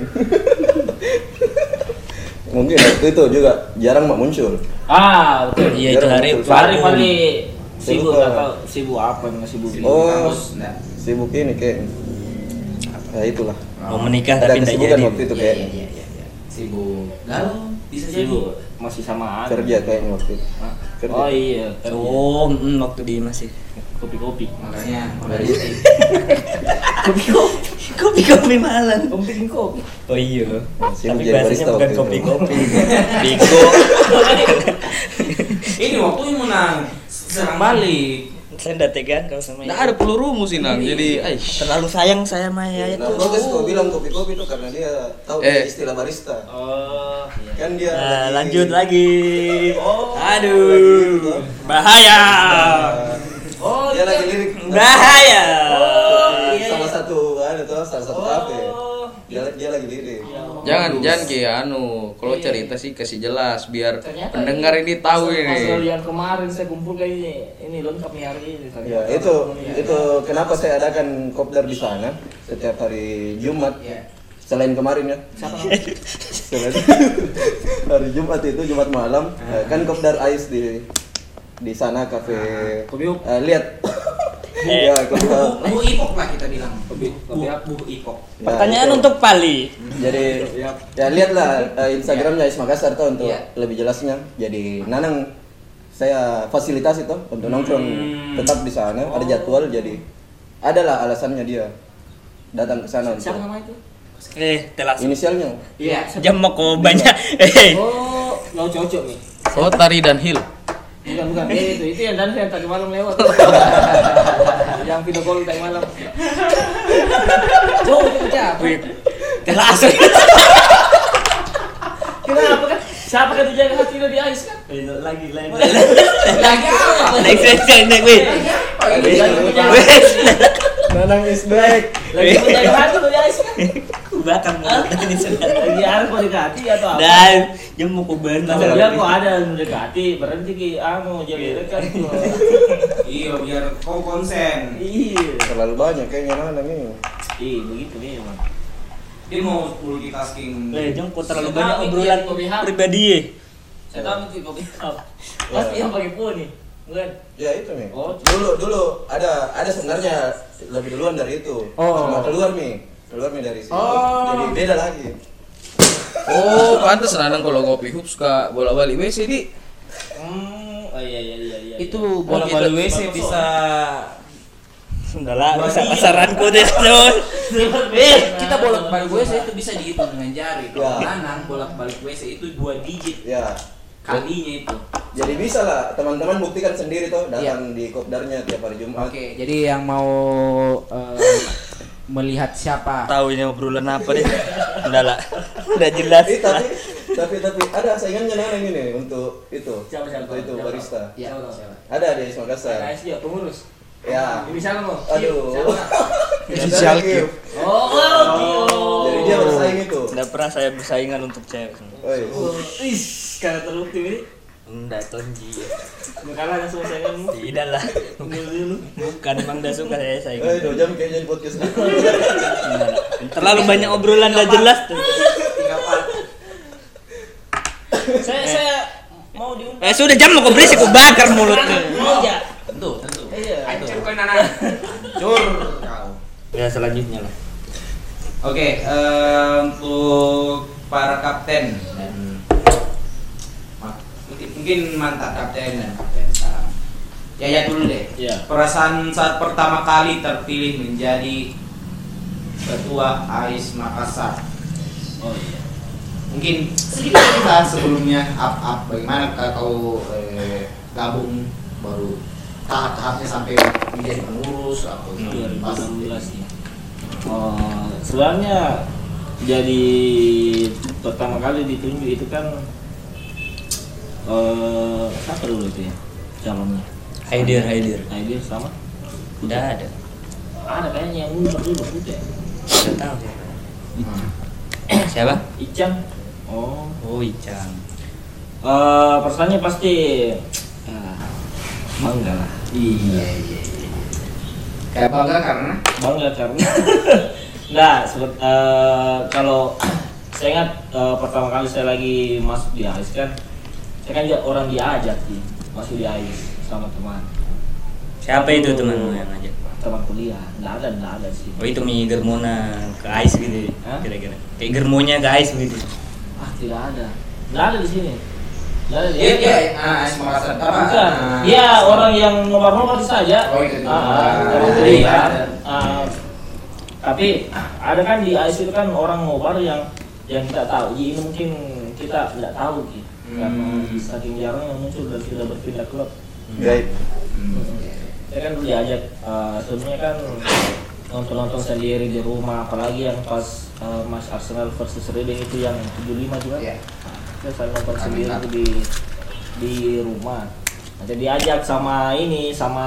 mungkin waktu itu juga jarang mak muncul ah betul Iya itu hari Fahri Fahri sibuk Lupa. nggak tahu sibuk apa nggak sibuk di oh kampus. Nah, sibuk ini kayak ya itulah Mau menikah ada tapi enggak kesibukan jadi. waktu itu Iya, kayak iya, iya, iya, iya. Sibuk galau bisa jadi. sibuk masih sama Ana. kerja kayaknya waktu itu Hah? Kerja. oh iya kerja. Oh, mm, waktu di masih. kopi-kopi Makanya kembali sih. Kopi kopi malam. kopi kopi Oh iya. Tapi sibuk jadi bahasanya barista bukan waktu kopi itu kopi. Biko. Ini waktu yang menang serang balik. Saya enggak tegan kalau sama Nggak ada pelurumu sih, Nang. Jadi, aish. Terlalu sayang saya sama Yayat. Nah, bagus kau bilang kopi-kopi itu karena dia tahu Eh. istilah barista. oh iya. Kan dia Nah, lagi- lanjut lagi. Oh. Aduh. Bahaya. oh eh, Dia iya. lagi lirik Bahaya. sama satu ada tuh salah satu kafe. Oh. Dia dia lagi lirik. Jangan, jangan kayak anu. Kalau cerita sih kasih jelas biar Ternyata ya. pendengar ini tahu Hasil ini. yang kemarin saya kumpulkan ini, ini lengkap nih hari ini. ternyata. Ya, itu itu kenapa saya adakan kopdar di sana setiap hari Jumat. selain kemarin ya selain hari Jumat itu Jumat malam eh, kan kopdar Ais di di sana kafe Kobiuk. Eh, lihat Eh. ya kopdar Eh, Bu ipok lah kita bilang. Kopi- Bu, kopi apa? bu ipok. Ya, Pertanyaan itu. untuk Pali. jadi ya lihatlah eh, Instagramnya Ais Makassar tuh untuk Iya. lebih jelasnya jadi Nanang saya fasilitas itu untuk nongkrong tetap di sana ada jadwal jadi adalah alasannya dia datang ke sana Siapa untuk nama itu? Eh, telas. inisialnya Iya. Jam mau kau banyak. Eh, Oh, yang cocok nih. Oh, Tari dan Hill. Bukan, bukan. Eh, itu, itu yang dan yang tadi malam lewat. Oh. yang video call tadi malam. Cowok itu pecah. telas. Kenapa kan? Siapa kan dijaga hati lo di ais kan? Lagi lain. Lagi apa? Next next next next. weh. Lagi menjaga- Weh. Nanang is back. Lagi menjaga hati lo di ais kan? Aku bakal ngeliatin sebentar. Lagi harus mendekati atau apa? Dan jam mau kau banyak. Kalau Iya, dia kok ada yang mendekati, berhenti ki, ah mau jadi dekat kok. Iya biar kau konsen. Iya. terlalu banyak kayaknya Nanang ini Iya, begitu memang. Dia mau multitasking. Eh, jam kau terlalu Sedang banyak iya, ini obrolan jadi pemihak. pribadi. eh. Saya tahu itu kopi apa. Pasti yang pakai pun nih. Bukan. Ya itu nih. Oh. Dulu dulu ada ada sebenarnya lebih duluan dari itu. Oh. Cuma keluar nih. Keluar nih dari sini. Oh. Jadi beda lagi. Oh, pantas Nanang kalau ngopi hub suka bola-bali WC di. Oh iya iya iya iya. Itu bola bola WC bisa Sudahlah, masa pasaranku deh, Don. Eh, kita bolak balik WC itu bisa dihitung dengan jari. Kalau Ya. kanan bolak balik WC itu dua digit Ya. kalinya itu. Jadi bisa lah teman-teman buktikan sendiri toh datang di kopdarnya tiap hari Jumat. Oke, jadi yang mau eh, melihat siapa Tahu ini obrolan apa deh. Sudahlah. Udah jelas. Tapi tapi tapi tapi ada saingannya Nanang ini untuk itu. Siapa, siapa, Untuk itu siapa? barista. Iya, Ya, Siapa? siapa? Ada di Ismail Makassar. Nah, sih ya pengurus. Ya. Ini siapa mau? Aduh. Inisial Q. Oh, oh, Tio. Jadi dia bersaing itu. Enggak pernah saya bersaingan untuk cewek. Oi. Is, karena terbukti ini. Enggak tonji. Makalah langsung saya kamu. Tidak lah. Bukan emang udah suka saya Eh, saingan. dua jam kayaknya di podcast. Terlalu banyak obrolan enggak jelas tuh. Saya saya mau diumpet. Eh sudah jam mau kau berisik kau bakar mulutnya. Iya. Tentu, tentu. Iya. Hancur kau anak. Cur kau. Ya selanjutnya lah. Oke, eh, untuk para kapten dan ma- mungkin, mungkin mantan kapten dan kapten sekarang. Yaya ya dulu deh. Iya. Perasaan saat pertama kali terpilih menjadi ketua AIS Makassar. Oh iya. Mungkin sedikit aja dibahas sebelumnya up up bagaimana eh, kau eh, gabung baru tahap-tahapnya sampai menjadi pengurus atau Hmm. pas 2016 ya. Oh, sebenarnya jadi pertama kali ditunjuk itu kan eh siapa dulu itu ya calonnya? Haidir, Haidir. Nah, dia sama. Udah ada. Ada kayaknya yang mundur dulu putih. Udah tahu ya. Siapa? Icang. Oh. Oh, Icang. Eh persannya pasti ah, bangga lah. Iya iya. iya. Kayak bangga karena Bangga karena nggak sebet, eh, kalau saya ingat eh, pertama kali saya lagi masuk di AIS kan saya kan dia- orang diajak sih masuk di AIS sama teman Siapa itu temanmu yang ngajak? teman kuliah nggak ada nggak ada sih Oh itu mi germona ke ais gitu Hah? kira-kira. Kayak germonya ke ais gitu. ah tidak ada nggak ada di sini nggak ada di Iya, iya, ah, AIS Makassar. Apa? Bukan. Ah. Dia orang yang nomor-nomor saja. Oh, itu. Ah, ah, orang Ah, tadi, iya. ah, ah. tapi ah, ada kan di AIS itu kan orang ngobar yang yang kita tahu. Jadi ini mungkin kita tidak tahu gitu. Karena Hmm. saking jarang yang muncul dan sudah berpindah klub. Gaib. Saya kan dulu diajak ah, sebelumnya kan nonton-nonton sendiri di rumah apalagi yang pas ah, Mas Arsenal versus Reading itu yang 75 juga. Iya. Terus saya nonton sendiri tuh di di rumah. Nanti diajak sama ini sama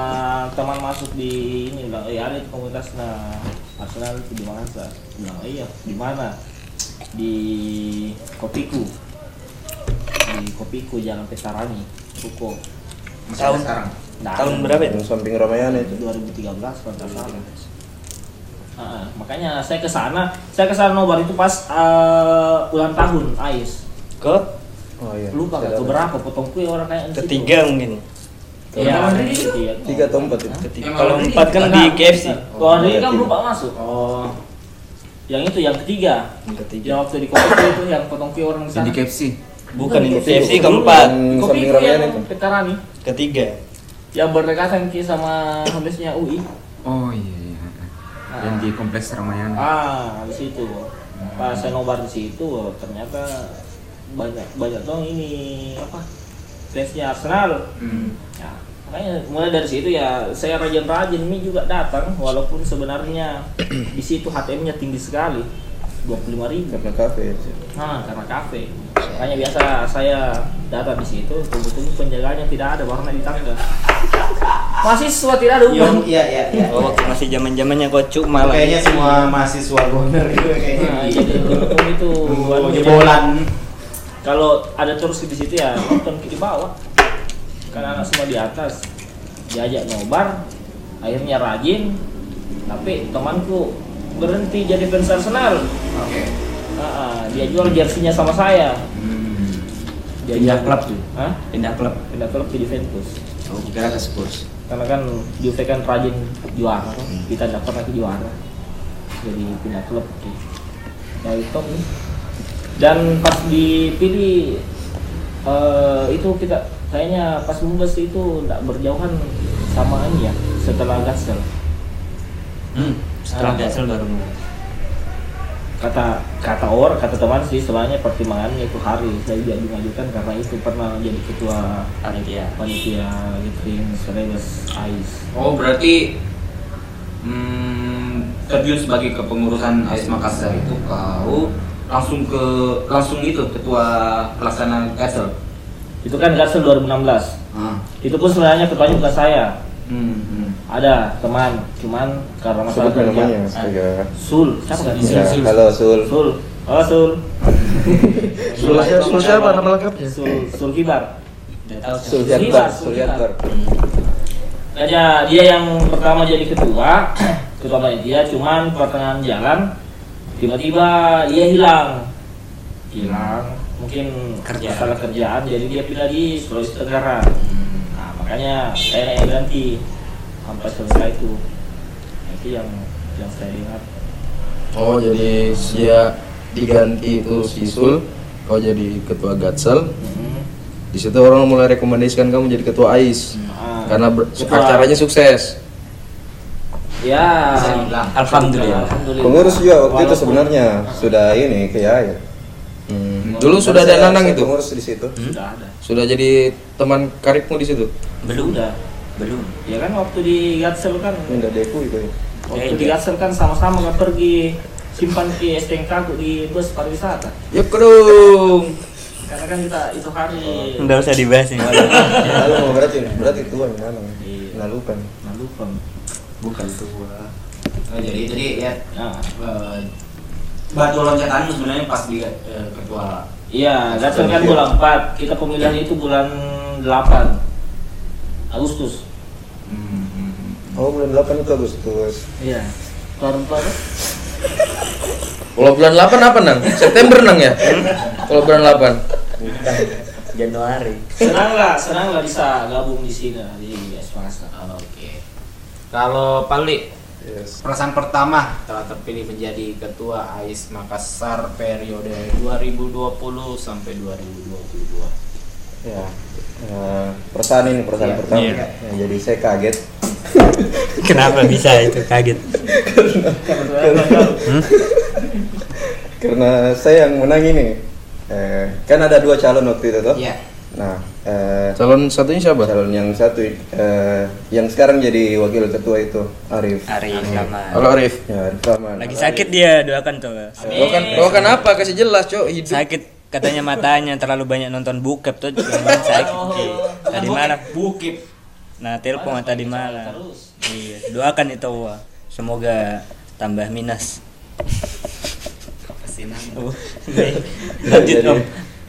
teman masuk di ini bilang, "Eh, ada di komunitas nah Arsenal itu di mana?" Sa?" Bilang, "Oh "Iya, di mana?" Di Kopiku. Di Kopiku Jalan Pestarani, Ruko. Misalnya sekarang. Nah, Tahun berapa itu? Yang samping Ramayana itu. 2013 kalau nggak salah. Nah, Ah, makanya saya ke sana, saya ke sana nobar itu pas eh, ulang tahun Ais. Ke Oh iya. Lupa gak keberapa potong kue orang kayak di situ. ketiga mungkin. Iya, Ketiga. ketiga. Tiga atau empat itu. Ketiga. Emang Kalau orang empat kan di Enggak. KFC. Kalau hari ini kan Ketiga. lupa masuk. Oh. Yang itu yang ketiga. Ketiga. Yang waktu di kopi itu yang potong kue orang di sana. Jadi KFC. Bukan ini Ketiga. KFC keempat, Yang Kopi samping itu ramen yang itu. Pekarani ketiga. yang berdekatan ki sama habisnya UI. Oh iya iya. Yang di kompleks Ramayana. Ah, di situ. Pas saya nobar di situ ternyata banyak banyak dong ini apa? Fansnya Arsenal. Hmm. Ya, makanya mulai dari situ ya saya rajin-rajin ini juga datang walaupun sebenarnya di situ HTM-nya tinggi sekali. 25.000 ribu Karena kafe. Nah, karena kafe. Makanya biasa saya data di situ, tunggu-tunggu penjaganya tidak ada, baru naik di tangga. Mahasiswa tidak ada Yong, umum. iya iya iya. Oh, waktu masih zaman zamannya kocuk malah. Kayaknya semua mahasiswa goner gitu kayaknya. Nah, iya, jadi untung itu. Nunggu buat- jebolan. Kalau ada terus di situ ya nonton ke di bawah. Karena anak semua di atas. Diajak nobar, akhirnya rajin. Tapi temanku berhenti jadi fans Arsenal. Oke. Ah, ah, dia jual jersinya sama saya. Hmm. Dia Pindah jual- klub tuh. Hah? Pindah klub. Pindah klub ke Juventus. Oh, kira ke Spurs. karena kan Juve kan rajin juara kan Hmm. kita tidak pernah ke juara jadi punya klub di dari top nih dan pas dipilih eh, itu kita kayaknya pas Mumbes itu tidak berjauhan sama ini ya setelah Gasel Hmm, setelah Ah. Gasel baru mulai. kata kata or kata teman sih setelahnya pertimbangannya itu hari saya jadi mengajukan karena itu pernah jadi ketua Panitia. panitia Litrin Celebes Ais Oh berarti hmm, terjun sebagai kepengurusan AS Makassar itu kau langsung ke langsung itu ketua pelaksana Gasel. itu kan Gasel 2016 Ah. itu pun sebenarnya ketuanya bukan saya Hmm, hmm. ada teman cuman karena masalah Sebutkan kerja namanya. Astaga. sul siapa kan Ya, halo Sul. sul oh sul Sul siapa- Sul siapa nama lengkapnya? sul sul kibar Sul Jakbar. Sul Jakbar. Kayaknya dia yang pertama jadi ketua ketua panitia cuman pertengahan jalan tiba-tiba dia hilang hilang mungkin Kerjaan. masalah kerjaan jadi dia pindah di Sulawesi Tenggara Hmm. nah makanya saya yang ganti sampai selesai itu Nah, itu yang yang saya lihat Oh jadi dia diganti itu si Sul. Oh, Kau jadi ketua Gatsel. Hmm. Mhm. Di situ orang mulai rekomendasikan kamu jadi ketua AIS. Ah. Karena ber- Ketua- acaranya sukses. ya Bisa dibilang. Alhamdulillah. Alhamdulillah. Pengurus juga waktu itu Walaupun- sebenarnya sudah ini ya. kayak Hmm. Dulu sudah ada Nanang itu. Pengurus di situ. sudah ada Sudah jadi teman karibmu di situ. Belum. Udah. Belum. ya kan waktu di Gatsel kan Enggak deku itu. ya. waktu di Gatsel kan sama-sama kan pergi simpan di STNK aku di bus pariwisata Ya kerung. karena kan kita itu hari Enggak usah dibahas ini. Lalu mau berarti berarti tua yang Nanang. Iya. Nah lupa nih. nah lupa Bukan tua. Oh, jadi jadi ya nah eh, batu loncatanmu sebenarnya pas di eh, ketua. iya Gatsel kan bulan 4 kita pemilihan itu bulan 8 Agustus Hmm, hmm, hmm. Oh bulan 8 itu Agustus. iya ya? keluar-keluar Kalau bulan 8 apa nang? September nang ya? Kalau bulan 8 Januari. senang lah senang lah bisa gabung di sini di Espangsa Ah, Oke. Kalau Pali Yes. Perasaan pertama telah terpilih menjadi ketua AIS Makassar periode 2020 sampai 2022. Ya. eh, perasaan ini perasaan Iya. pertama. Iya. Ya, jadi saya kaget. Kenapa bisa itu kaget? Karena saya yang menang ini. Eh, kan ada dua calon waktu itu toh. Iya. Nah, eh, Calon satunya siapa? calon yang satu eh, yang sekarang jadi wakil ketua itu Arif. Ari Halo Arif. Ya, Arif Rahman. Lagi sakit dia, doakan tuh. Doakan, doakan kan, apa? Kasih jelas, Cok. Hidup. Sakit katanya matanya terlalu banyak nonton bokep tuh jangan sakit. Tadi malam Bukit. Nah, telepon tadi malam. terus Iya, doakan itu wah. Semoga tambah minus. Oh, nih. Lanjut Nah, Jadi- om.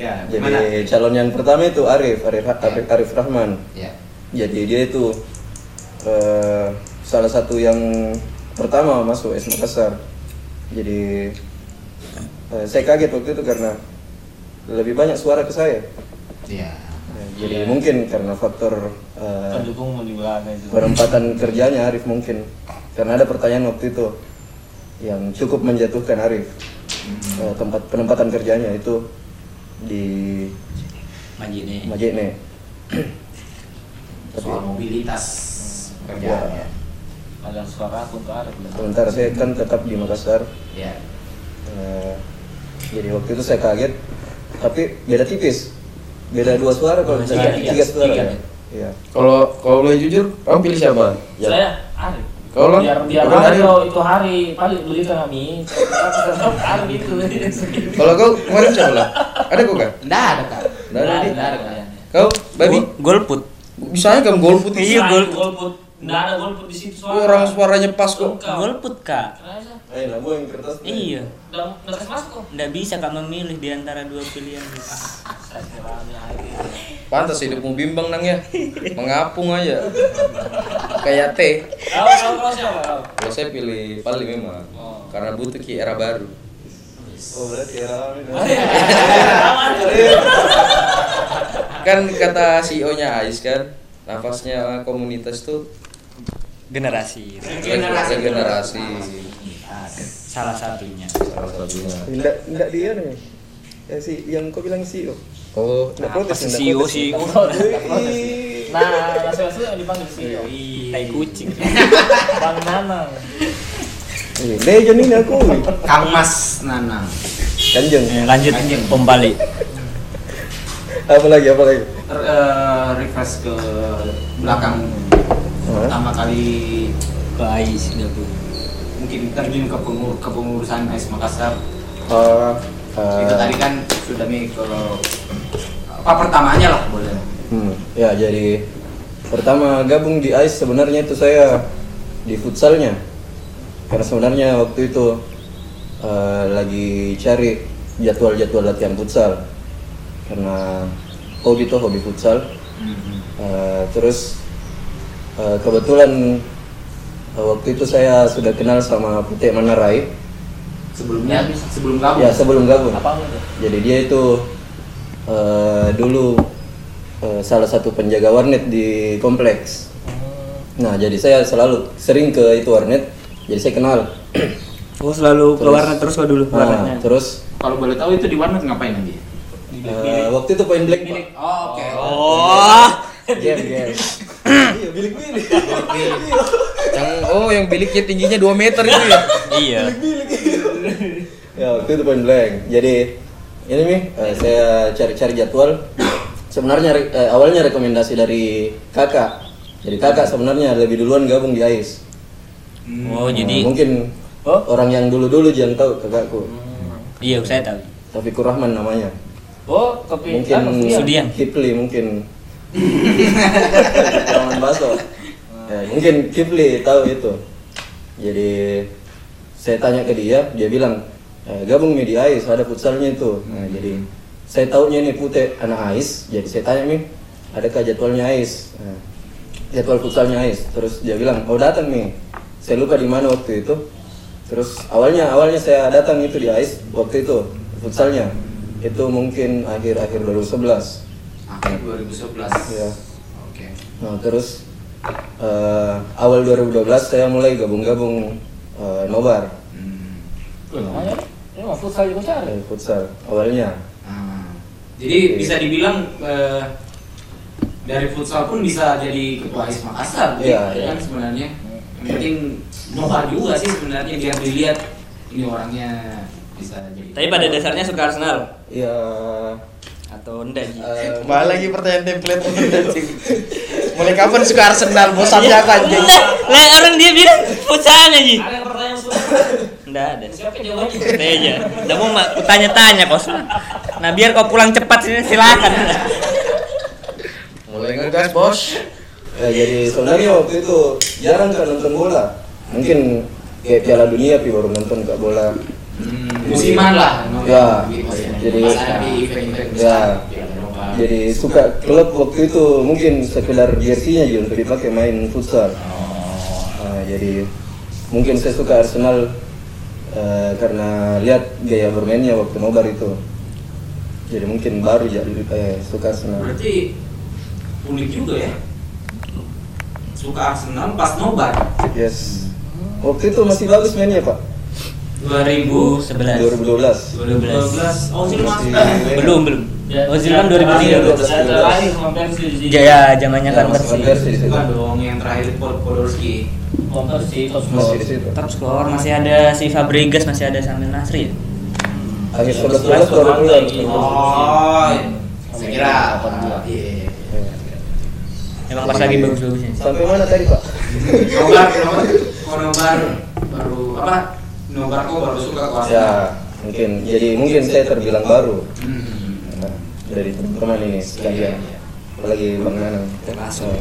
Ya, Jadi gimana? calon yang pertama itu Arif, Arif Arif, Arif Rahman. Ya. Jadi dia itu eh, salah satu yang pertama masuk S Makassar jadi eh, saya kaget waktu itu karena lebih banyak suara ke saya Iya. Ya, jadi mungkin karena faktor eh, pendukung mau di belakang itu perempatan kerjanya Arif mungkin karena ada pertanyaan waktu itu yang cukup menjatuhkan Arif Eh, tempat penempatan kerjanya itu di Majine. Majene tapi Soal mobilitas Iya. Ya. kerjaannya. ada suara aku untuk Arif lah. sementara saya kan tetap di Makassar Iya. Ya. Eh, jadi waktu itu saya kaget tapi beda tipis beda dua suara kalau misalnya Tiga, tiga tiga. suara Tiga. ya. Iya. Kalau kalau boleh jujur, kamu pilih siapa? saya Arif Kalau biar biar kalau hari Arif- kalau itu hari paling berita kami tetap Arif itu Kalau kau kemarin siapa lah? Ada kau kan? Nggak ada kak. Nggak ada, Nggak ada kak. Kau, babi? golput. Bisa aja kamu golput. Iya, gol golput. golput nggak ada golput di situ suara Iya, Orang suaranya pas kok. Engkau. golput kak Kenapa sih? Eh, lah, gua yang kertas. iya nggak nggak kasih masuk kok nggak bisa kak memilih di antara dua pilihan kak Saya serami Arif. Pantas hidupmu bimbang nang ya. Mengapung aja. Kayak teh. Kau kau kau siapa kau? Kalau saya pilih Pali memang. Karena butuh ki era baru. Oh, berarti ya, Amin. Kan kata CEO-nya Ais kan, nafasnya komunitas tuh Generasi regenerasi. regenerasi. salah satunya. Salah satunya. Enggak, enggak dia nih. Ya si yang kau bilang CEO. Oh, Apa Enggak protes, E sih enggak CEO protes. sih? Wih. Nah, langsung langsung yang dipanggil Iya. sih. Iya. Tai kucing. Bang Nanang. Ih, Legend ini aku. Kang Mas Nanang. Kanjeng. Eh, Lanjut kembali. Apa lagi? Apa lagi? Ter- eh, refresh ke belakang Hah? pertama kali Baik, sudah tuh. mungkin terjun ke pengur kepengurusan AIS Makassar Eh, eh, itu tadi kan sudah nih ke apa pertamanya lah boleh hmm, ya jadi pertama gabung di ICE sebenarnya itu saya di futsalnya. Karena sebenarnya waktu itu eh, lagi cari jadwal-jadwal latihan futsal. Karena hobi itu hobi futsal. Uh, terus uh, kebetulan uh, waktu itu saya sudah kenal sama Putih Manarai sebelumnya sebelum gabung ya sebelum gabung Apa lu tuh? jadi dia itu uh, dulu uh, salah satu penjaga warnet di kompleks Hmm. nah jadi saya selalu sering ke itu warnet jadi saya kenal Oh selalu ke Terus. warnet terus kok dulu Nah, warnetnya. terus kalau boleh tahu itu di warnet ngapain aja uh, waktu itu poin black Pak. oh oke Oh, game game iya bilik bilik yang oh yang biliknya tingginya 2 meter itu ya. iya. ya waktu itu point blank jadi ini nih eh, saya cari-cari jadwal sebenarnya re- eh, awalnya rekomendasi dari kakak jadi kakak sebenarnya lebih duluan gabung di AIS Oh Nah, jadi mungkin orang yang dulu-dulu jangan tahu kakakku iya saya tahu. Taufikur Rahman namanya Oh, kopi mungkin apa? Sudian. Kipli mungkin Rahman Baso Ya, mungkin Kipli tahu itu jadi saya tanya ke dia dia bilang "Eh, gabung nih di AIS ada futsalnya itu nah, jadi saya tahunya nih putih anak AIS jadi saya tanya nih adakah jadwalnya AIS nah, jadwal futsalnya AIS terus dia bilang oh datang nih saya lupa di mana waktu itu terus awalnya awalnya saya datang itu di AIS waktu itu futsalnya itu mungkin akhir-akhir 2011 akhir 2011 Iya. oke Nah, terus eh, awal 2012 saya mulai gabung-gabung eh, nobar Hmm. Namanya? Ini mau futsal juga cari. eh, futsal awalnya. Ah. jadi bisa dibilang eh, dari futsal pun bisa jadi ketua AIS Makassar gitu Iya, iya. kan sebenarnya yang penting nobar juga sih sebenarnya biar dilihat ini orangnya bisa jadi Tapi pada dasarnya suka Arsenal Ya atau enggak sih? eh, Kembali lagi pertanyaan template Mulai kapan suka Arsenal? Bosannya apa anjing? Lah, Iya. lah orang dia bilang futsalnya Ji. Ada yang pertanyaan sudah? Enggak ada. Siapa jawabannya? Santai aja. Udah mau mak, ku tanya-tanya kos. Nah biar kau pulang cepat sini silakan. Mulai ngegas, Bos. ya, jadi sebenarnya waktu itu jarang kan nonton bola. Mungkin kayak Piala Dunia pi baru nonton kak bola. Hmm, musiman lah nonton Ya. gitu ya. Jadi- Pas ada di event-event Ya. besar ya, Eropa. Jadi suka klub waktu itu mungkin sekedar jersey-nya aja untuk dipakai main futsal. Nah, jadi mungkin saya suka Arsenal eh, karena lihat gaya bermainnya waktu nobar itu jadi mungkin baru jadi eh, suka Arsenal Berarti unik juga ya. Suka Arsenal pas nobar yes waktu itu masih bagus mainnya pak Oh, 2000 11 12 2012 oh sini masuk Iya, belum belum Oh, Ozil kan 2003 Saya terakhir sama Persi di sini. Jaya zamannya kan Ya, masih bersih Konversi di situ. bukan dong yang terakhir Pol- Podolski Sama Persi, terus masih di situ terus keluar masih ada si Fabregas masih ada Samir Nasri ya? akhir 11 baru mulai oh saya kira iya iya Iya. emang pas lagi bagus-bagusnya sampai mana tadi pak nobar nobar kau nobar baru apa nobar kau baru suka kau Arsenal ya mungkin jadi mungkin saya terbilang baru Iya, Hmm. Nah, dari teman ini sekalian apalagi bang Nanang Termasuk.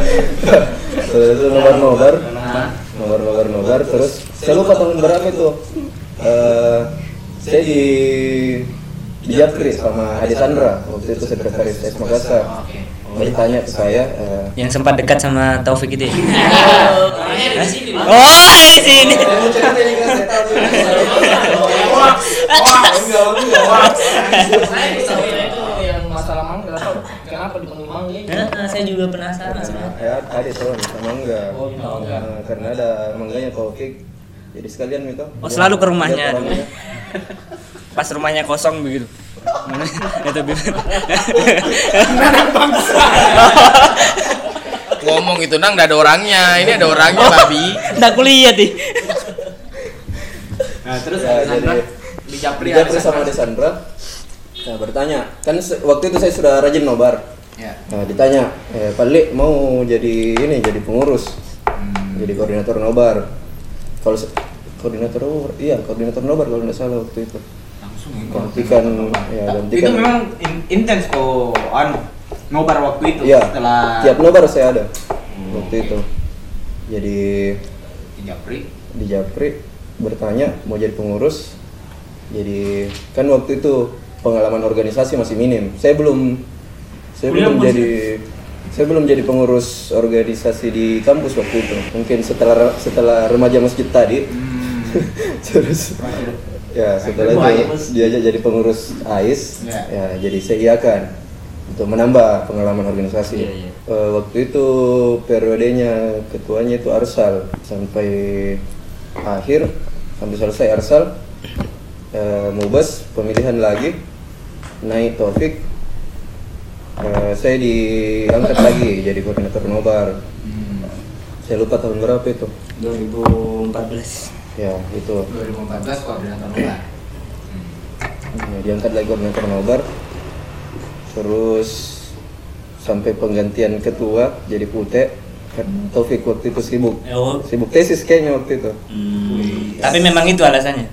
terus itu nobar nobar nobar nobar nobar terus saya lupa tahun berapa itu Eh, saya di di Japri sama Adi Sandra waktu itu sekretaris S Makassar oke dia tanya ke saya eh, yang sempat dekat sama Taufik itu ya? Nah, orangnya eh, ada di sini Bang. Iya. oh di sini saya mau cerita ini kan saya tahu Hoax. Hoax. Hoax. Saya bisa bilang itu. yang masalah mangga nggak tahu kenapa dipanggil mangga ini? Nah, saya juga penasaran sebenarnya. ya ada soalnya sama mangga Oh, minta mangga. Nah, karena ada mangganya Taufik jadi sekalian gitu. itu Oh, selalu ke rumahnya. Pas rumahnya kosong begitu. Mana? Itu gimana? ngomong itu nang nggak ada orangnya ini ada orangnya babi Enggak kuliah ih. Nah, terus Ya, ada Sandra jadi- di Japri Dia ada terus sama Sandra. Desandra nah, bertanya kan se- waktu itu saya sudah rajin nobar Ya. nah, ditanya eh, Pak Li, mau jadi ini jadi pengurus jadi koordinator nobar kalau se- koordinator nobar iya koordinator nobar kalau nggak salah waktu itu Langsung Ya, gantikan ya Itu gantikan memang in- intens kok anu nobar waktu itu iya setelah tiap nobar saya ada Hmm. waktu itu jadi di Japri. di Japri bertanya mau jadi pengurus jadi kan waktu itu pengalaman organisasi masih minim saya belum saya Kuliah belum masih- jadi saya belum jadi pengurus organisasi di kampus waktu itu mungkin setelah setelah remaja masjid tadi Hmm. terus ya setelah itu diajak jadi pengurus AIS Ya. ya jadi saya iakan untuk menambah pengalaman organisasi Eh, waktu itu periodenya ketuanya itu Arsal sampai akhir sampai selesai Arsal eh, Mubes pemilihan lagi naik Taufik Eh, saya diangkat lagi jadi koordinator nobar saya lupa tahun berapa itu 2014. ya itu 2014 koordinator nobar. Ya, diangkat lagi koordinator nobar terus sampai penggantian ketua jadi pute karena Taufik waktu itu sibuk Oh. iya. sibuk tesis kayaknya waktu itu Tapi memang itu alasannya.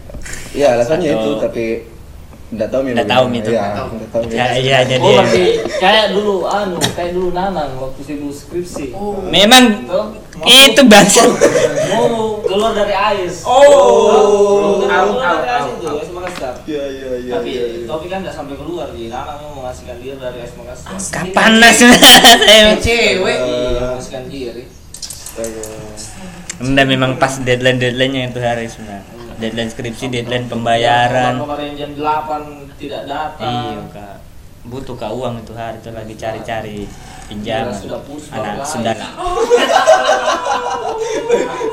ya alasannya Atau- itu tapi nggak tahu memang Nggak tahu gimana. itu. ya nggak tahu Ya memang. iya jadi. Oh, berarti kayak dulu anu, kayak dulu Nanang waktu sibuk skripsi. Oh. Memang Tuh, mau- itu bangsa. mau keluar dari AIS. Oh, Keluar out, out, dari AIS out, out. itu, ya, AIS Makassar. Iya, iya, iya, Tapi iya, iya. Taufik kan nggak sampai keluar di Nanang yang mengasihkan diri dari AIS Makassar. Ah. Panas saya. Cewek. Iya, mengasihkan diri. Astaga. Anda memang pas deadline deadline-nya itu hari sebenarnya. Deadline skripsi, deadline Kalau pembayaran. Kemarin jam 8 tidak datang. Iya, Kak. Butuh Kak uang itu hari itu lagi cari-cari pinjaman. Sudah puspa, Anak guys. sudah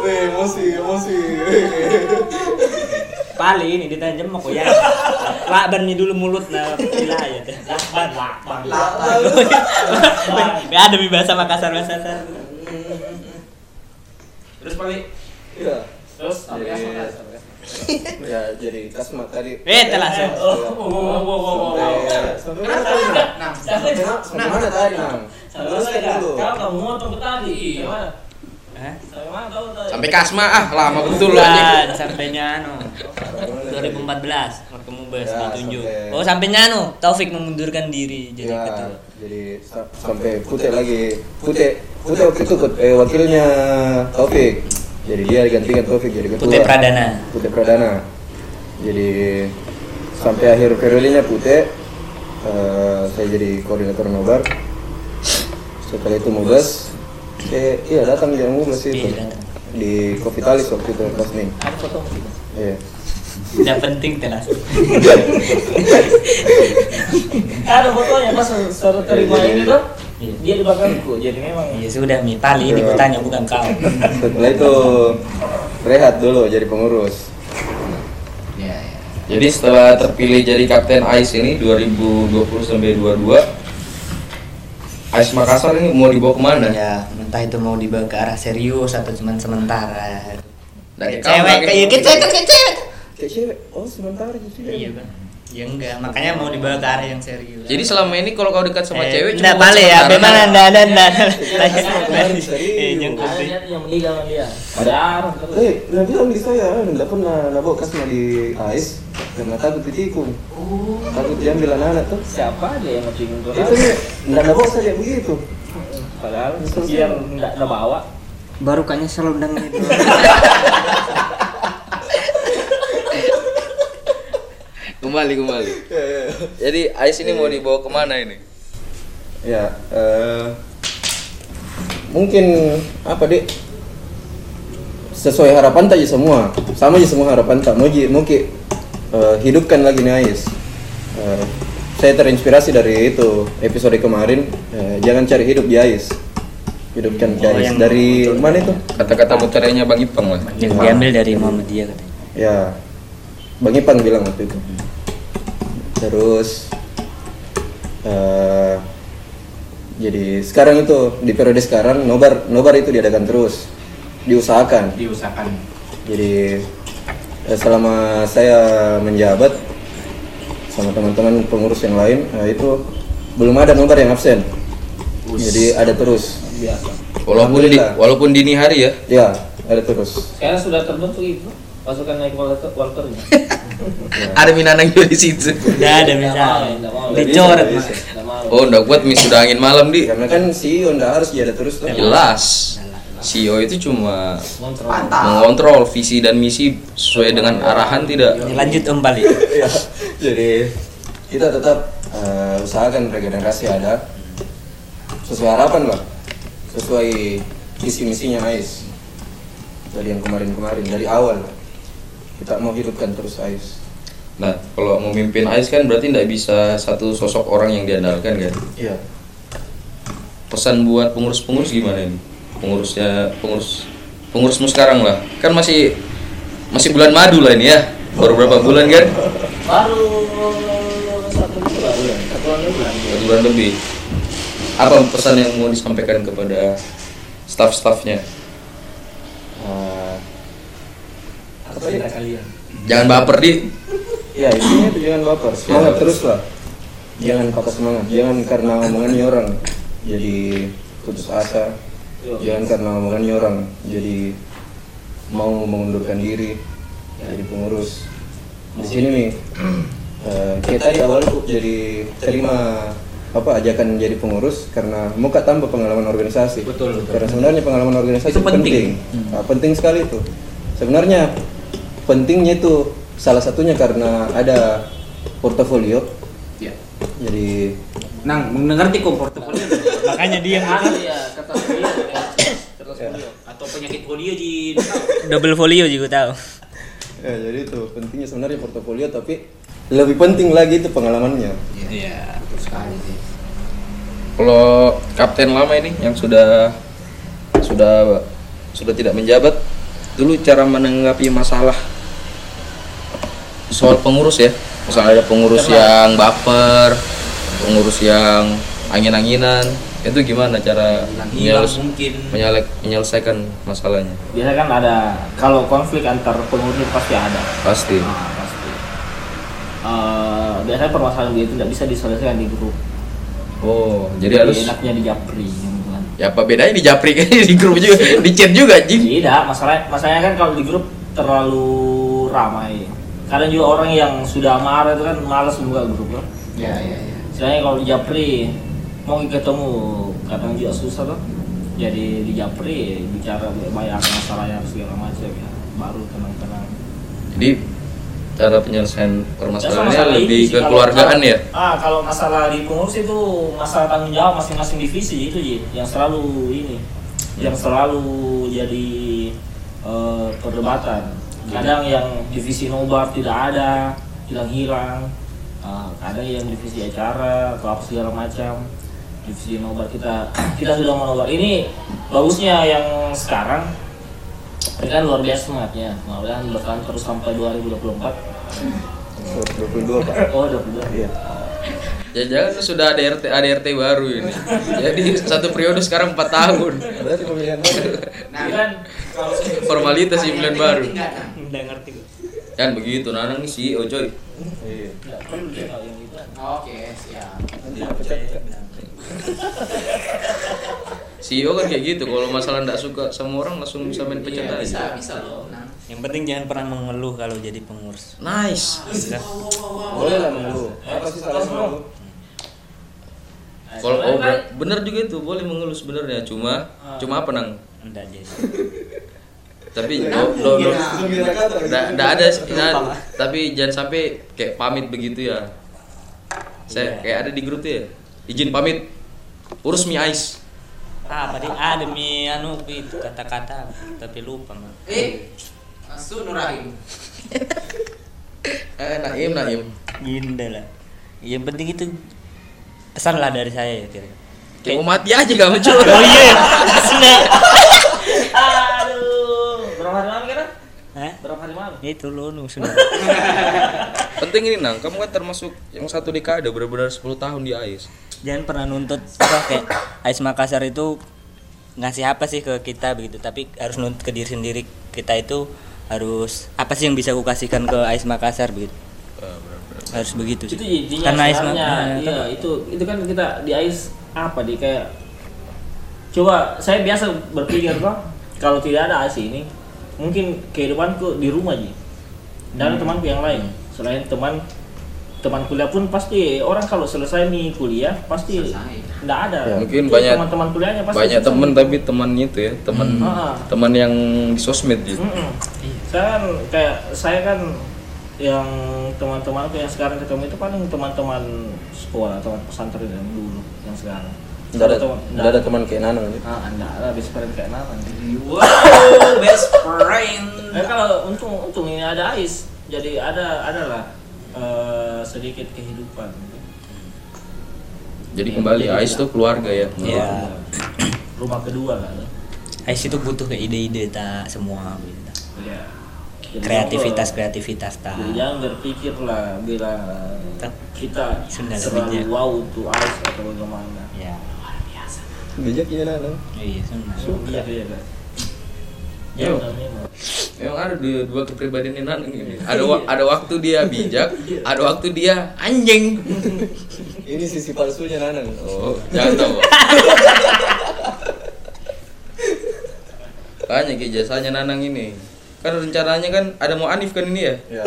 emosi emosi Pali ini ditanjem mau ya. Lakban nih dulu mulut nah pila ya. Lakban, lakban. Lakban. ada di bahasa Makassar bahasa Makassar. Terus paling ya Terus sampai AIS Iya. Makassar. ya jadi kasma tadi Eh, telah saya. Oh, Sampai- sampai mana tadi Nang? Nah, sampai mana tadi nang Sampai Teruskan dulu. Kau nggak mau potong tadi. Iya. Hah? Sampai mana tahu tadi? sampai kasma ah lama betul lu anjing Bulan sampai Nyano. 2014 Marco Mubes Ya, ditunjuk. sampai- Oh, sampai Nyano Taufik memundurkan diri jadi ya, ketua. jadi sa- sampai putih lagi putih putih waktu itu ke- eh, wakilnya Taufik jadi dia digantikan Taufik jadi ketua Putih Pradana. Putih Pradana jadi sampai akhir periodenya putih eh, saya jadi koordinator nobar setelah itu mubas eh iya datang dia mubas itu Iya, datang. di Kopitalis waktu itu pas nih. Ada foto nggak sih? Iya. Tidak penting telas. Eh, Ada fotonya pas surat terima Iya, iya, ini iya. tuh. Dia di belakangku, jadi memang Ya sudah Mi, Pali ini kutanya bukan kau. Iya, Setelah itu rehat dulu jadi pengurus. iya. Jadi setelah terpilih jadi kapten AIS ini 2020 sampai 22 AIS Makassar ini mau dibawa kemana? Ya, entah itu mau dibawa ke arah serius atau cuman sementara. Dari Kayak cewek, kayak kamu, dari- gitu kan kayak cewek. Kayak cewek, oh sementara jadi cewek. Iya, Bang. Ya enggak, makanya mau dibawa ke arah yang serius. Eh, Jadi selama ini kalau kau dekat sama cewek Enggak buat balik ya, sementara. Iya. memang enggak ada enggak. Eh, Serius. ada yang menikah sama dia. Ada. Jarang terus. Eh, nggak bilang di saya, "Eh, nggak pernah nabok kasma di ais karena takut ditikung, Oh. takut diambil anak-anak tuh. Siapa aja yang mau cingin tuh? Itu nih, nggak nabok saja begitu. Padahal dia nggak ada bawa. Baru kayaknya selendang gitu. Kembali kembali. Ya, Jadi AIS ini mau dibawa kemana ini? Ya, eh, mungkin apa dek? Sesuai harapan tak aja semua, sama aja semua harapan tak. Mau ji- mau ki- eh, hidupkan lagi nih ais. Eh, saya terinspirasi dari itu episode kemarin. eh, jangan cari hidup di ais, hidupkan di Oh, ais. yang Dari muncul. mana itu? Kata-kata muterainya Bang Ipang lah. Yang diambil dari Muhammadiyah katanya. Ya, Bang Ipang bilang waktu itu. Terus eh jadi sekarang itu di periode sekarang nobar nobar itu diadakan terus, diusahakan. diusahakan Jadi eh, selama saya menjabat sama teman-teman pengurus yang lain eh, itu belum ada nobar yang absen. Jadi ada terus. Walaupun di, Alhamdulillah. walaupun dini hari ya. Ya, ada terus. Sekarang sudah terbentuk itu pasukan naik walter walternya. Ada Minanang juga di situ. Udah ada Nggak bisa. mau, nggak mau. Dicoret. Mas. Nggak mau. Oh, enggak kuat mis sudah angin malam di. Karena kan CEO ndak harus jadi terus tuh. Jelas. CEO itu cuma Kontrol. mantap mengontrol visi dan misi sesuai dengan arahan tidak. Ya, Lanjut Om Pali. ya jadi kita tetap eh, usahakan regenerasi ada sesuai harapan lah sesuai visi misinya Ais dari yang kemarin-kemarin dari awal kita mau hidupkan terus Ais Nah, kalau memimpin AIS kan berarti tidak bisa satu sosok orang yang diandalkan kan. iya Pesan buat pengurus-pengurus gimana ini? Pengurusnya pengurus pengurusmu sekarang lah. Kan masih masih bulan madu lah ini ya. Baru berapa bulan kan? Baru satu bulan, satu bulan. Satu bulan lebih. Apa pesan yang mau disampaikan kepada staff-staffnya? Eh, apa ya kalian Jangan baper di. ya intinya itu jangan baper semangat terus lah jangan patah semangat jangan karena omongannya orang jadi putus asa jangan karena omongannya orang jadi mau mengundurkan diri jadi pengurus di sini nih Hmm. eh, kita di awal tuh jadi terima apa ajakan jadi pengurus karena muka tambah pengalaman organisasi Betul, betul. karena sebenarnya pengalaman organisasi Itu penting. Hmm. Nah, penting sekali itu sebenarnya pentingnya itu salah satunya karena ada portofolio ya jadi nang mengerti komfortable Makanya dia Iya, kata dia. Terus atau penyakit polio di double folio juga tahu. ya, jadi itu pentingnya sebenarnya portofolio tapi lebih penting lagi itu pengalamannya iya betul sekali sih Kalau kapten lama ini yang sudah sudah sudah tidak menjabat, dulu cara menanggapi masalah soal pengurus ya. Misalnya ada pengurus yang baper, pengurus yang angin-anginan, itu gimana cara hilang menyelesa- mungkin menyelek- menyelesaikan masalahnya? Biasa kan ada kalau konflik antar pengurus pasti ada. Pasti. Nah, pasti. Eh, biasanya permasalahan begitu tidak bisa diselesaikan di grup. Oh, jadi harus enaknya di japri gitu kan. ya apa bedanya di japri kan di grup juga, di chat juga anjing. Tidak, masalah masalahnya kan kalau di grup terlalu ramai. Kadang juga orang yang sudah marah itu kan malas buka grup loh. Iya, ya ya ya Istilahnya kalau di Japri mau ketemu kadang juga susah loh. Jadi di Japri bicara banyak masalah yang segala macam ya. Baru tenang-tenang. Jadi cara penyelesaian permasalahannya Masalahnya lebih ke keluargaan ya. Ah, kalau masalah di pengurus itu masalah tanggung Hmm. jawab masing-masing divisi itu Ji, yang selalu ini, yang selalu jadi eh, perdebatan. Kadang yang divisi nobar tidak ada, hilang-hilang. Ah, kadang yang divisi acara atau apa segala macam. Divisi nobar kita kita sudah mau nobar. Ini bagusnya yang sekarang ini kan luar biasa semangatnya. Mudah-mudahan bertahan terus sampai 2024. 22 pak Oh, 22. iya Jangan-jangan sudah ada RT, ada RT baru ini. Jadi satu periode sekarang 4 tahun. berarti pemilihan baru Nah, kan kalau sudah- Formalitas di bulan baru. Enggak, nah. Udah ngerti gue. Kan begitu, Nanang nih CEO coy. iya Oke, siap. nanti dipecat Kak. CEO kan kayak gitu, kalau masalah nggak suka sama orang langsung bisa main pecat Iya, bisa, aja. bisa loh. Nah, Yang penting jangan pernah mengeluh kalau jadi pengurus. Nice. Sudah. boleh lah mengeluh apa sih salah sama lu Kalau oh, ber- bener juga itu, boleh mengeluh sebenarnya. Cuma cuma apa nang? Enggak jadi. Tapi lo lo lo Sembilan kata lagi. nggak nggak ada nggak- tapi jangan sampai kayak pamit begitu ya. Saya kayak ada di grup tuh ya. Izin pamit. Urus mie ais. Ah, tadi ah demi anu itu kata-kata tapi lupa man. eh, Su Nurahim. Eh, Naim, Naim. Ginda lah. Yang penting itu pesan lah dari saya ya, Tir. Kayak mau mati aja gak muncul. Oh iya, asli. Aduh, berapa hari malam kira? Hah? Ya Berapa hari malam? Itu lo nu sudah. Penting ini nang, kamu kan termasuk yang satu dekade benar-benar 10 tahun di AIS. Jangan pernah nuntut apa kayak Ais Makassar itu ngasih apa sih ke kita begitu, tapi harus nuntut ke diri sendiri. Kita itu harus apa sih yang bisa aku kasihkan ke Ais Makassar begitu. Harus begitu sih. Itu jadinya Karena Ais Nah, sebenarnya, Makassar. iya itu itu kan kita di ais apa di kayak coba saya biasa berpikir kok kalau tidak ada ais ini mungkin kehidupanku di rumah aja dan Hmm. temanku yang lain selain teman teman kuliah pun pasti orang kalau selesai nih kuliah pasti tidak ada Ya, mungkin Terus banyak- teman-teman kuliahnya pasti Banyak susah. temen tapi temannya itu ya, teman Hmm. Ah. teman yang di sosmed gitu. Mm-mm. Saya kan kayak saya kan yang teman-teman yang sekarang ketemu itu paling teman-teman sekolah, teman pesantren yang dulu, yang sekarang. nggak ada Teman- nggak ada teman kayak Nanang nih Ah, nggak ada best friend kayak nama. Wow, Oh, best friend. Eh, kalau untung untung ini ada Ais, jadi ada adalah eh, sedikit kehidupan. Jadi kembali AIS tuh keluarga ya. Iya. Rumah kedua lah. Ais itu butuh kayak ide-ide tak semua gitu. Iya. Jadi kreativitas jangan- kreativitas tak jadi Iya. jangan berpikir lah bila Tak. kita Sudah selalu lebihnya. wow untuk Ais atau bagaimana. ya bijaknya Nanang iya sunnah Iya, iya, iya. Yo. Jangan memang. Memang ada dua, dua kepribadian yang Nanang Iya. ini. Ada wa- ada waktu dia bijak, ada waktu dia anjing. ini sisi palsunya Nanang Oh, jangan tahu. Banyak ya jasanya Nanang ini. Kan rencananya kan ada mau Anif kan ini ya? ya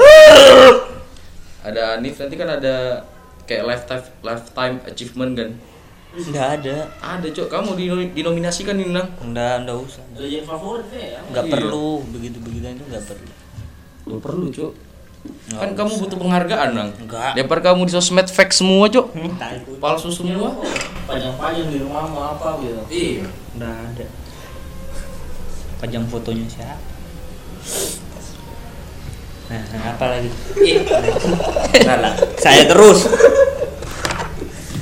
Ada Anif nanti kan ada kayak lifetime lifetime achievement kan. nggak ada Ada cok, kamu dino- dinominasikan ini Nang. nggak nggak usah Jadi favorit deh ya. nggak Iya. perlu begitu begituan itu nggak perlu Lu perlu cok. Nggak Kan kamu butuh penghargaan Nang. Enggak. Lempar kamu di sosmed fake semua cok. Tai. Palsu Iya, semua. Panjang-panjang di rumah mau apa gitu. Iya. nggak ada pajang fotonya siapa nah, nah, apa lagi Nggak lah saya terus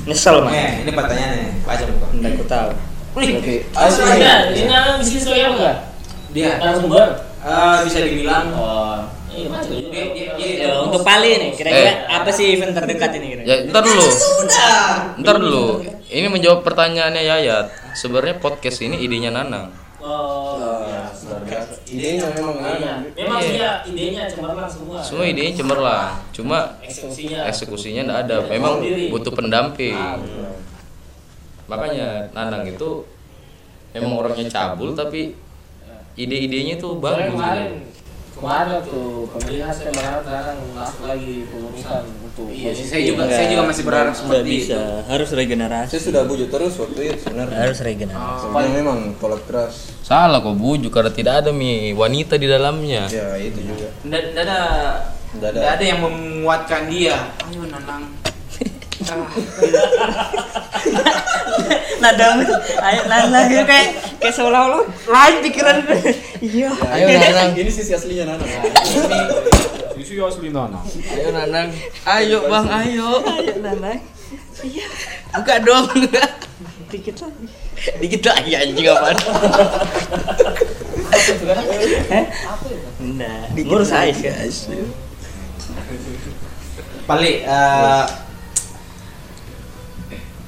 nyesel mah Eh, Nih, ini pertanyaannya nih, baca dulu Pak. nggak aku tahu oke Ais ini Ada, Iya, ini ada bisnis kayak apa? Dia Narasumber. eh, Ah, bisa dibilang Oh, iya maju. Dia, dia, dia, Ya, Oh, iya, untuk Pali nih kira-kira Eh. apa sih event terdekat ini kira-kira Ya, ntar dulu. Ntar dulu. Ini menjawab pertanyaannya Yayat. Sebenarnya podcast ini idenya Nanang. Oh, idenya memang iya. Nanang Memang Iya. dia idenya cemerlang semua. Semua idenya cemerlang. Cuma Eksekusinya. eksekusinya tidak ada. Memang butuh pendamping. Makanya Nanang itu memang orangnya cabul tapi ide-idenya itu Soalnya bagus. kemarin kemarin waktu pemilihan saya berharap sekarang masuk lagi pengurusan untuk Iya, sih, saya juga saya juga masih berharap nggak seperti bisa itu. harus Iya. regenerasi saya sudah bujuk terus waktu itu sebenarnya harus regenerasi sebenarnya memang tolak keras Salah kok bujuk karena tidak ada mi wanita di dalamnya. ya itu juga Nggak nggak ada Nggak ada. nggak ada yang menguatkan dia. Ayo Nanang. Ah, Nada ayo nada nah, ya, kayak kayak seolah-olah lain pikiran iya Ayo Nanang, Ini sisi aslinya Nana. Itu ya asli Nana. ayo Nanang. Ayo Bang, ayo. ayo nanang iya Buka dong. dikit lagi Dikit lagi anjing apaan. Nah, ngurus Ais kan Paling eh,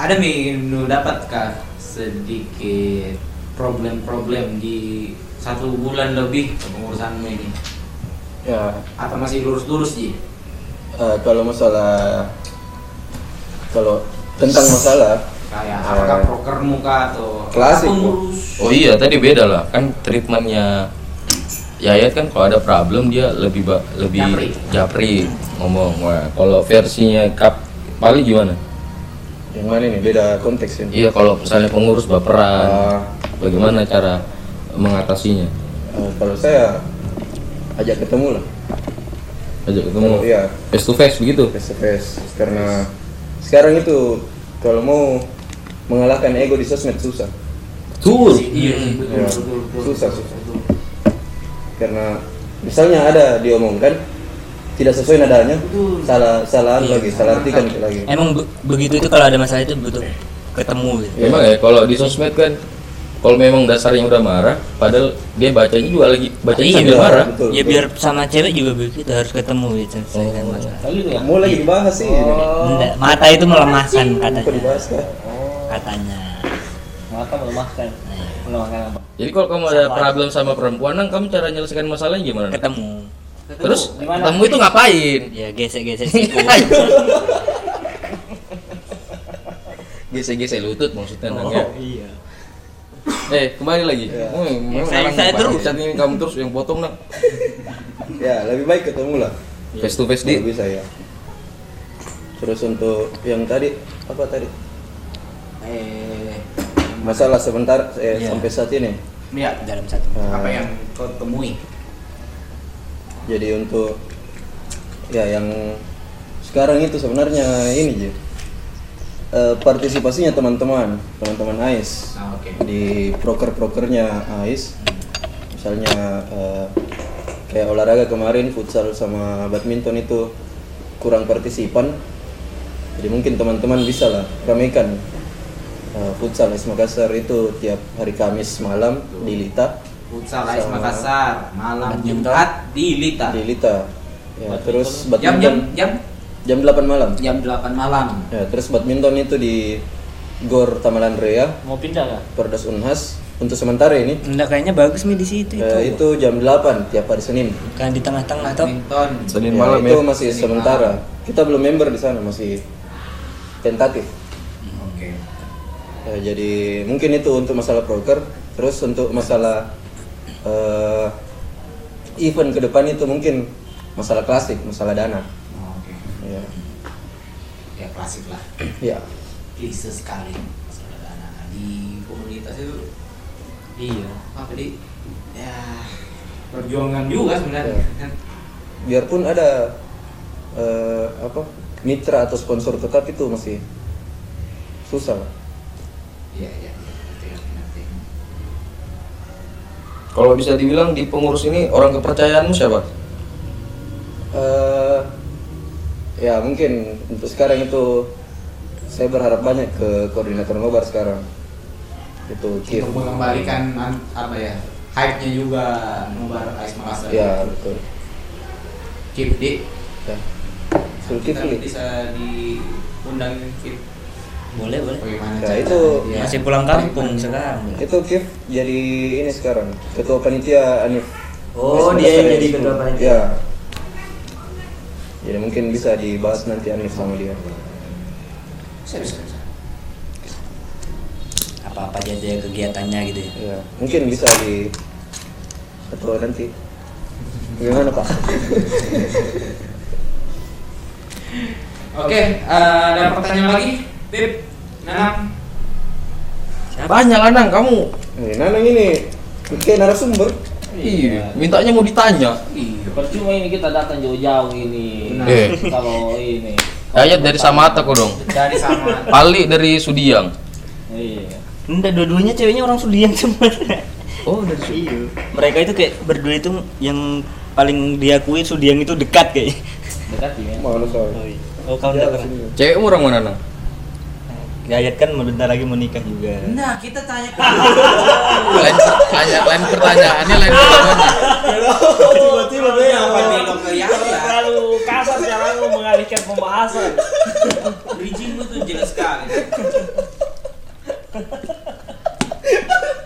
ada menu dapatkah sedikit problem-problem di satu bulan lebih pengurusanmu ini? Ya, Atau masih lurus-lurus sih? eh, kalau masalah kalau tentang masalah Kayak apakah Eh. prokermu kah atau Klasik, apa Bu. ngurus? Oh iya, tadi beda lah. Kan treatmentnya Yayat kan kalau ada problem dia lebih ba- lebih japri, ngomong. Wah, kalau versinya kap paling gimana? yang mana nih beda konteks ini. Iya, kalau misalnya pengurus baperan, Eh, bagaimana cara mengatasinya? eh, kalau saya ajak ketemu lah. Ajak ketemu. Iya. Face to face begitu. face to face karena sekarang itu kalau mau mengalahkan ego di sosmed susah Iya, betul, Tur. Iya. betul, betul, Susah, betul, susah. betul. karena misalnya ada diomongkan tidak sesuai nadanya salah Iya, salahan lagi salah artikan lagi Emang be- begitu itu kalau ada masalah itu butuh ketemu gitu. Memang ya kalau di sosmed kan kalau memang dasarnya udah marah, padahal dia bacanya juga lagi bacanya Iya, sambil Iya, marah. betul, Ya betul. Oh. biar sama cewek juga begitu harus ketemu gitu. selesaikan masalah. Iya. mau lagi dibahas sih ini. Oh. Enggak, mata itu melemahkan Kok katanya. dibahas kah? Katanya. mata melemahkan melemahkan apa Jadi kalau kamu ada problem sama perempuan, nang kamu cara menyelesaikan masalahnya gimana? Nang? Ketemu. Terus Gimana? kamu itu ngapain? Ya gesek-gesek siku. Gesek-gesek lutut maksudnya Nang ya. Oh. Iya. Eh, kembali lagi. Oh, memang Saya- Nang saya ngapain? terus. Saat ini kamu terus yang potong nang. ya lebih baik ketemu lah Iya. Face to face kalau di. bisa ya terus untuk yang tadi apa tadi Eh, masalah sebentar eh, sampai saat ini ya, Dalam satu. apa ya? Eh, yang kau temui? jadi untuk ya yang sekarang itu sebenarnya ini je eh, partisipasinya teman-teman teman-teman AIS Ah, oke. di proker-prokernya AIS misalnya eh, kayak olahraga kemarin futsal sama badminton itu kurang partisipan jadi mungkin teman-teman bisa lah ramaikan eh, futsal AIS Makassar itu tiap hari Kamis malam di Lita Futsal AIS Sama- Makassar malam Jumat di Lita. di Lita ya, terus Jam badminton jam jam jam 8 malam jam 8 malam. ya, terus badminton itu di Gor Tamalan Rea mau pindah nggak Perdas Unhas untuk sementara ini Enggak kayaknya bagus nih di situ itu. eh, itu jam 8 tiap hari Senin Bukan di tengah-tengah toh. Badminton. Ya, itu masih sementara kita belum member di sana masih tentatif Oke. Ya, jadi mungkin itu untuk masalah broker terus untuk masalah eh, event ke depan itu mungkin masalah klasik masalah dana Oke. ya, Ya klasik lah. ya. Klise sekali masalah dana. di komunitas itu. Iya. Apa di ya perjuangan juga sebenarnya. kan? biarpun ada eh, apa mitra atau sponsor tetap itu masih susah lah. Iya iya. iya. Ngerti, ngerti, ngerti. Kalau bisa dibilang di pengurus ini orang kepercayaanmu siapa? Eh, ya mungkin untuk sekarang itu saya berharap banyak ke koordinator ngobar sekarang itu Kif Untuk mengembalikan an- apa ya? Hype-nya juga nobar AIS Makassar. ya betul Cip, di ya. Sul kita Kifli. bisa diundang Cip. Boleh, boleh. Bagaimana Ya, caranya itu- dia? Masih pulang kampung sekarang. itu Kif jadi ini sekarang ketua panitia Anif Oh, Mas dia yang Makassar jadi Expo. ketua panitia. ya jadi mungkin bisa dibahas nanti Anif sama dia Bisa, bisa, bisa. Apa-apa aja dia kegiatannya gitu ya. Ya, mungkin bisa di atau nanti. Gimana Pak? Oke, eh, ada pertanyaan lagi? Pip, Nanang, Banyak Nanang kamu. Ini Nanang Eh, nah, ini kayak narasumber. Iya, mintanya mau ditanya. percuma ini kita datang jauh-jauh ini Benar. Eh. kalau ini Ayat dari Samata kok dong. dari sama Pali dari Sudiang. iya Enggak, dua-duanya ceweknya orang Sudian semua. Oh, dari Su- iya. Mereka itu kayak berdua itu yang paling diakui Sudiang itu dekat kayak. dekat ya Mana soal? Oh, iya. oh kamu enggak pernah. Cewek orang mana nang? Gayat kan bentar lagi mau nikah juga. Nah, kita tanya ke Lain, tanya, lain pertanyaannya lain pertanyaannya. tiba-tiba dia apa nih lo ke Yahya? terlalu kasar cara lu mengalihkan pembahasan Bridging lu tuh jelas sekali.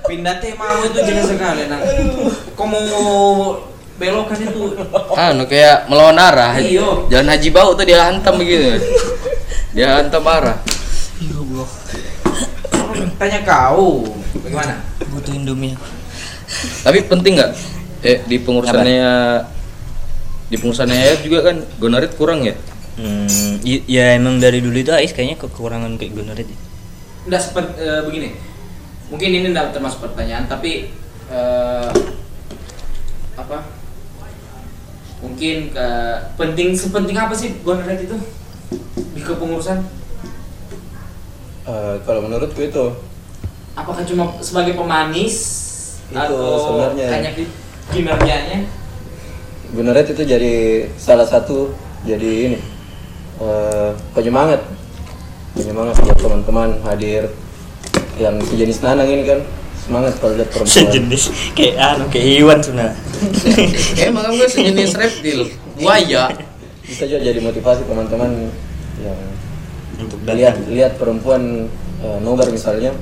Pindah tema lu itu jelas sekali nang. Kok mau belokan itu Anu kayak melawan arah. Iya. Jalan Haji Bau tuh dia hantam begitu. Dia hantam arah. tanya kau bagaimana? Butuh Indomie. Tapi penting nggak? Eh di pengurusannya di pengurusannya Ayat juga kan gonorit kurang ya? Hmm, i- ya emang dari dulu itu Ais kayaknya kekurangan kayak gonorit. ya. Nggak seperti eh, begini. Mungkin ini tidak termasuk pertanyaan, tapi eh, apa? Mungkin ke penting sepenting apa sih gonoret itu di kepengurusan? Eh, kalau menurutku itu Apakah cuma sebagai pemanis Itu atau sebenarnya. hanya di kinerjanya? Gunaret itu jadi salah satu jadi ini eh, penyemangat penyemangat buat teman-teman hadir yang sejenis nanang ini kan semangat kalau lihat perempuan Sejenis kayak anu kayak hewan sebenarnya. Emang kamu kan sejenis reptil, buaya. bisa juga jadi motivasi teman-teman yang Untuk lihat datang. lihat perempuan eh, nobar misalnya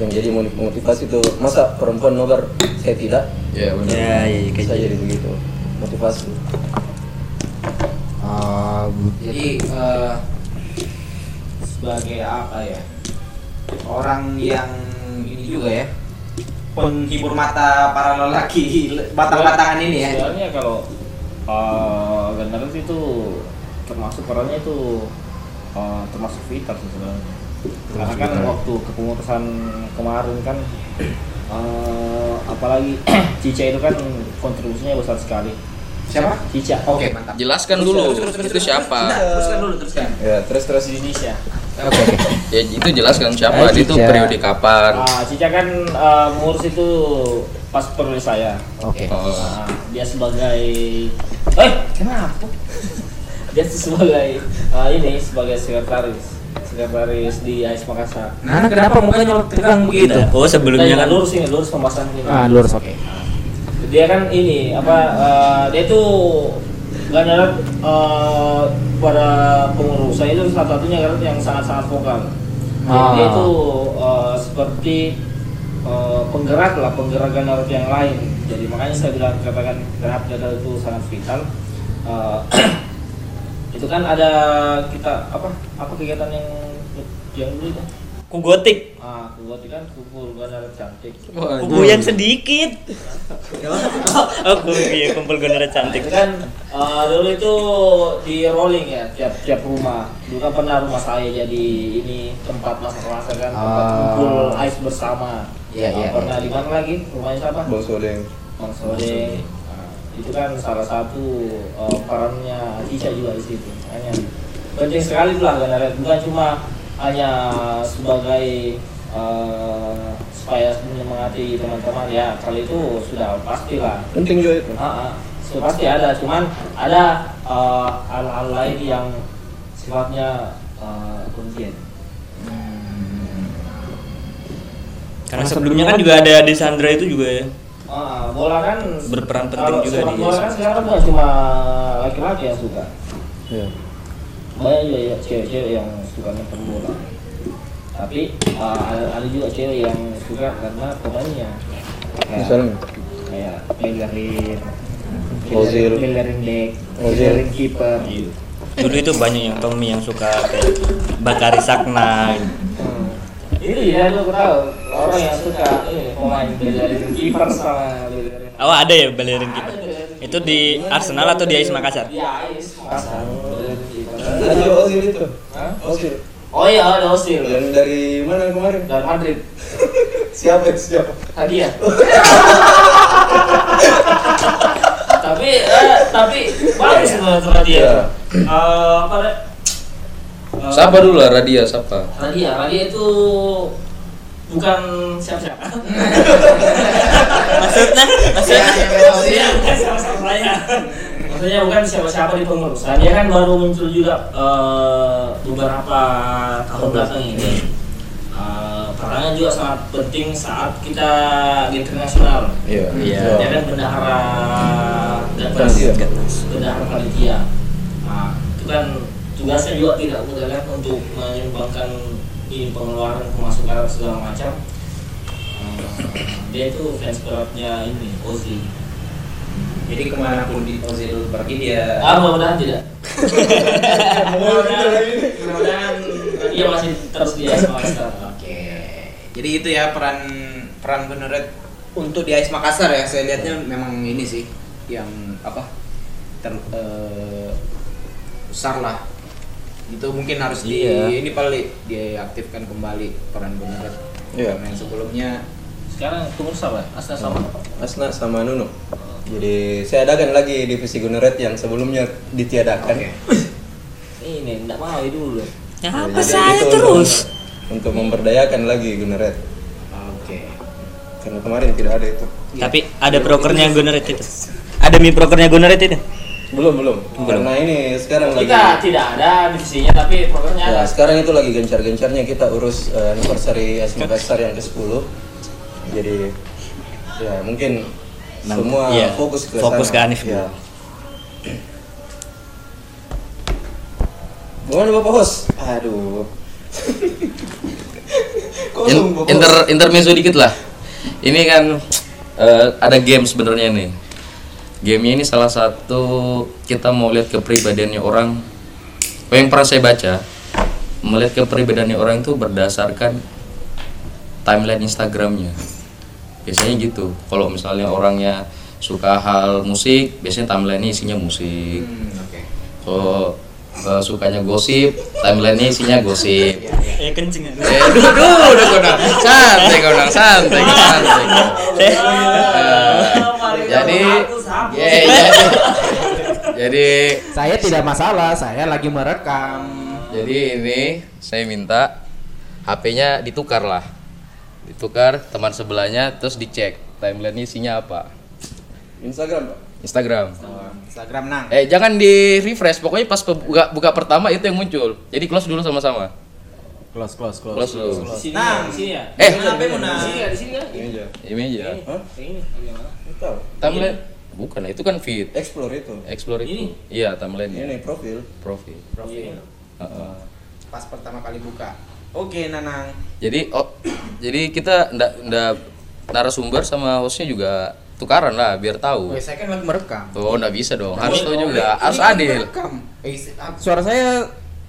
yang jadi moni- motivasi itu masa perempuan nobar saya tidak Ya benar. Ya, iya iya, bisa kayak jadi begitu motivasi Jadi eh, sebagai apa ya? Orang yang ini juga ya penghibur mata para lelaki batang-batangan ini ya. Sebenarnya kalau uh, generasi itu termasuk perannya itu uh, termasuk vital sih sebenarnya. Karena kan waktu kepengurusan kemarin kan uh, apalagi Cica itu kan kontribusinya besar sekali. Siapa? Oh, Cica. Oke, mantap. Jelaskan dulu itu siapa. Nah, teruskan dulu, teruskan. ya terus terus Indonesia. Ya itu jelaskan siapa. Dia itu Iya. periode kapan. Ah, Cica kan uh, mengurus itu pas periode saya. Oke. Oh. Nah, dia sebagai eh kenapa dia tuh sebagai eh, ini sebagai sekretaris sekretaris di AIS Makassar Nah, kenapa mukanya tegang begitu? gitu. Oh sebelumnya Nah, kan lurus ini lurus pembahasan ini Ah, lurus oke. dia kan ini apa eh, dia itu nggak darat eh, pada pengurus saya itu salah satunya Garat, yang sangat-sangat vokal Ah. dia itu eh, seperti eh, penggerak lah penggerak Garat yang lain jadi makanya saya bilang katakan Garat Garat itu sangat vital Eh, itu kan ada kita apa apa kegiatan yang yang dulu itu Ku gotik, ah kubuat kan kumpul Garat cantik kubu yang sedikit. oh, kubu yang kumpul gonorit cantik. Itu kan eh, dulu itu di rolling ya tiap tiap rumah. Dulu kan pernah rumah saya jadi ini tempat masak-masak kan, tempat kumpul ais bersama. Ah. Iya, Eh, iya, Pernah di mana lagi? Rumahnya siapa? bang Soleng Bang Sode. Nah, itu kan salah satu eh, perannya Tisha juga di situ. Hanya penting sekali lah Ganaret. Bukan cuma hanya sebagai eh, supaya menyemangati teman-teman ya kali itu sudah pastilah penting juga itu Ah, ah. So, pasti ada, cuman ada eh, hal-hal lain yang sifatnya eh, urgent. Karena sebelumnya kan juga ada Desandra itu juga ya. Ah, bola kan Berperan penting kalau juga sepak di bola kan Yesus. sekarang bukan cuma laki-laki yang suka, Iya. banyak juga ya cewek-cewek yang suka nonton bola. Tapi eh, ada, ada juga cewek yang suka karena pemainnya. Kayak- misalnya kayak miliarin, Ozil. miliarin back, Ozil. miliarin kiper. Iya. Dulu itu banyak yang Tommy yang suka kayak Bakari Sakna. Ini ya lu tahu orang yang suka ini pemain belajarin kiper sama belajarin Oh ada ya balerin kita. Itu di Arsenal atau di AS Makassar? ya is pasang belajarin kiper. Ada Ozil itu. Ozil. Oh iya ada Osil Yang dari mana kemarin? dari Madrid Siapa itu siapa? tadi ya. tapi eh, tapi bagus loh sama Iya. dia. Eh, apa deh? Siapa dulu lah Radia siapa? Radia, Radia itu bukan siapa-siapa maksudnya maksudnya maksudnya bukan siapa-siapa saya Iya, maksudnya bukan siapa-siapa di pengurusan dia kan baru muncul juga eh, beberapa tahun belakang ini Eh, perannya juga sangat penting saat kita di internasional Iya. Iya. dia kan bendahara dan Panitia. bendahara panitia nah, itu kan tugasnya juga tidak mudah kan untuk menyeimbangkan di pengeluaran pemasukan segala macam Eh, dia itu fans beratnya ini Ozi Jadi kemanapun di Ozil pergi dia ah mudah-mudahan tidak mudah-mudahan mudah-mudahan dia Iya, masih terus di SMA sekarang Oke. Jadi itu ya peran peran Benuret untuk di AIS Makassar ya. Saya lihatnya memang ini sih yang apa? Ter, eh, besar lah. Itu mungkin harus Iya. di ini paling diaktifkan kembali peran Benuret. Iya. Karena yang sebelumnya sekarang pengurus apa asna sama Asna sama Nunu. Jadi saya adakan lagi divisi Gunneret yang sebelumnya ditiadakan. Oke. ini enggak mau itu dulu ya Jadi apa itu saya untuk- terus untuk memberdayakan lagi Gunneret Oke. karena kemarin tidak ada itu. Tapi ada prokernya Gunneret itu. Ada mi prokernya Gunneret itu. Belum belum. Karena ini sekarang kita lagi. tidak ada divisinya tapi programnya ada Ya, sekarang itu lagi gencar-gencarnya kita urus eh, anniversary AS Makassar yang ke-10. Jadi ya mungkin Nah, semua iya, fokus ke fokus sana. ke Hanif Ya. Gimana Bapak Hos? Aduh. Kosong, Bapak Hos. inter intermezzo dikit lah. Ini kan eh, ada game sebenarnya nih. Gamenya ini salah satu kita mau lihat kepribadiannya orang. Oh, yang pernah saya baca, melihat kepribadiannya orang itu berdasarkan timeline Instagramnya. Biasanya gitu. Kalau misalnya orangnya suka hal musik, biasanya timeline-nya isinya musik. Hmm, oke. Kalau eh, sukanya gosip, timeline-nya isinya gosip. Eh kencing. Eh, Duh, duh, udah kau dong. Santai kau dong, santai kau, santai. kau. Eh, jadi, ya, jadi, jadi, Saya tidak masalah, saya lagi merekam. jadi ini saya minta HP-nya ditukar lah, ditukar teman sebelahnya, terus dicek timeline isinya apa. Instagram, Pak. Instagram. Instagram nang. Eh jangan di refresh, pokoknya pas pe- buka, buka pertama itu yang muncul. Jadi close dulu sama-sama. Close close close. Close dulu. di sini Nah. di sini ya Eh, Kenapa mau di sini ya di sini kan Ini aja. ini aja. Hah? ini Tahu. Timeline? Bukan, itu kan feed. Explore itu. Explore Ini? itu. Iya, timeline. Ini profil. profil. iya. Heeh. Pas pertama kali buka. Oke, Nanang. Jadi oh, jadi kita ndak ndak narasumber sama hostnya juga tukaran lah biar tahu. Oke, saya kan lagi merekam. Oh, ndak bisa dong. Harus tahu Boleh, juga, boleh. harus Ini kan adil. merekam. Eh, si- Suara saya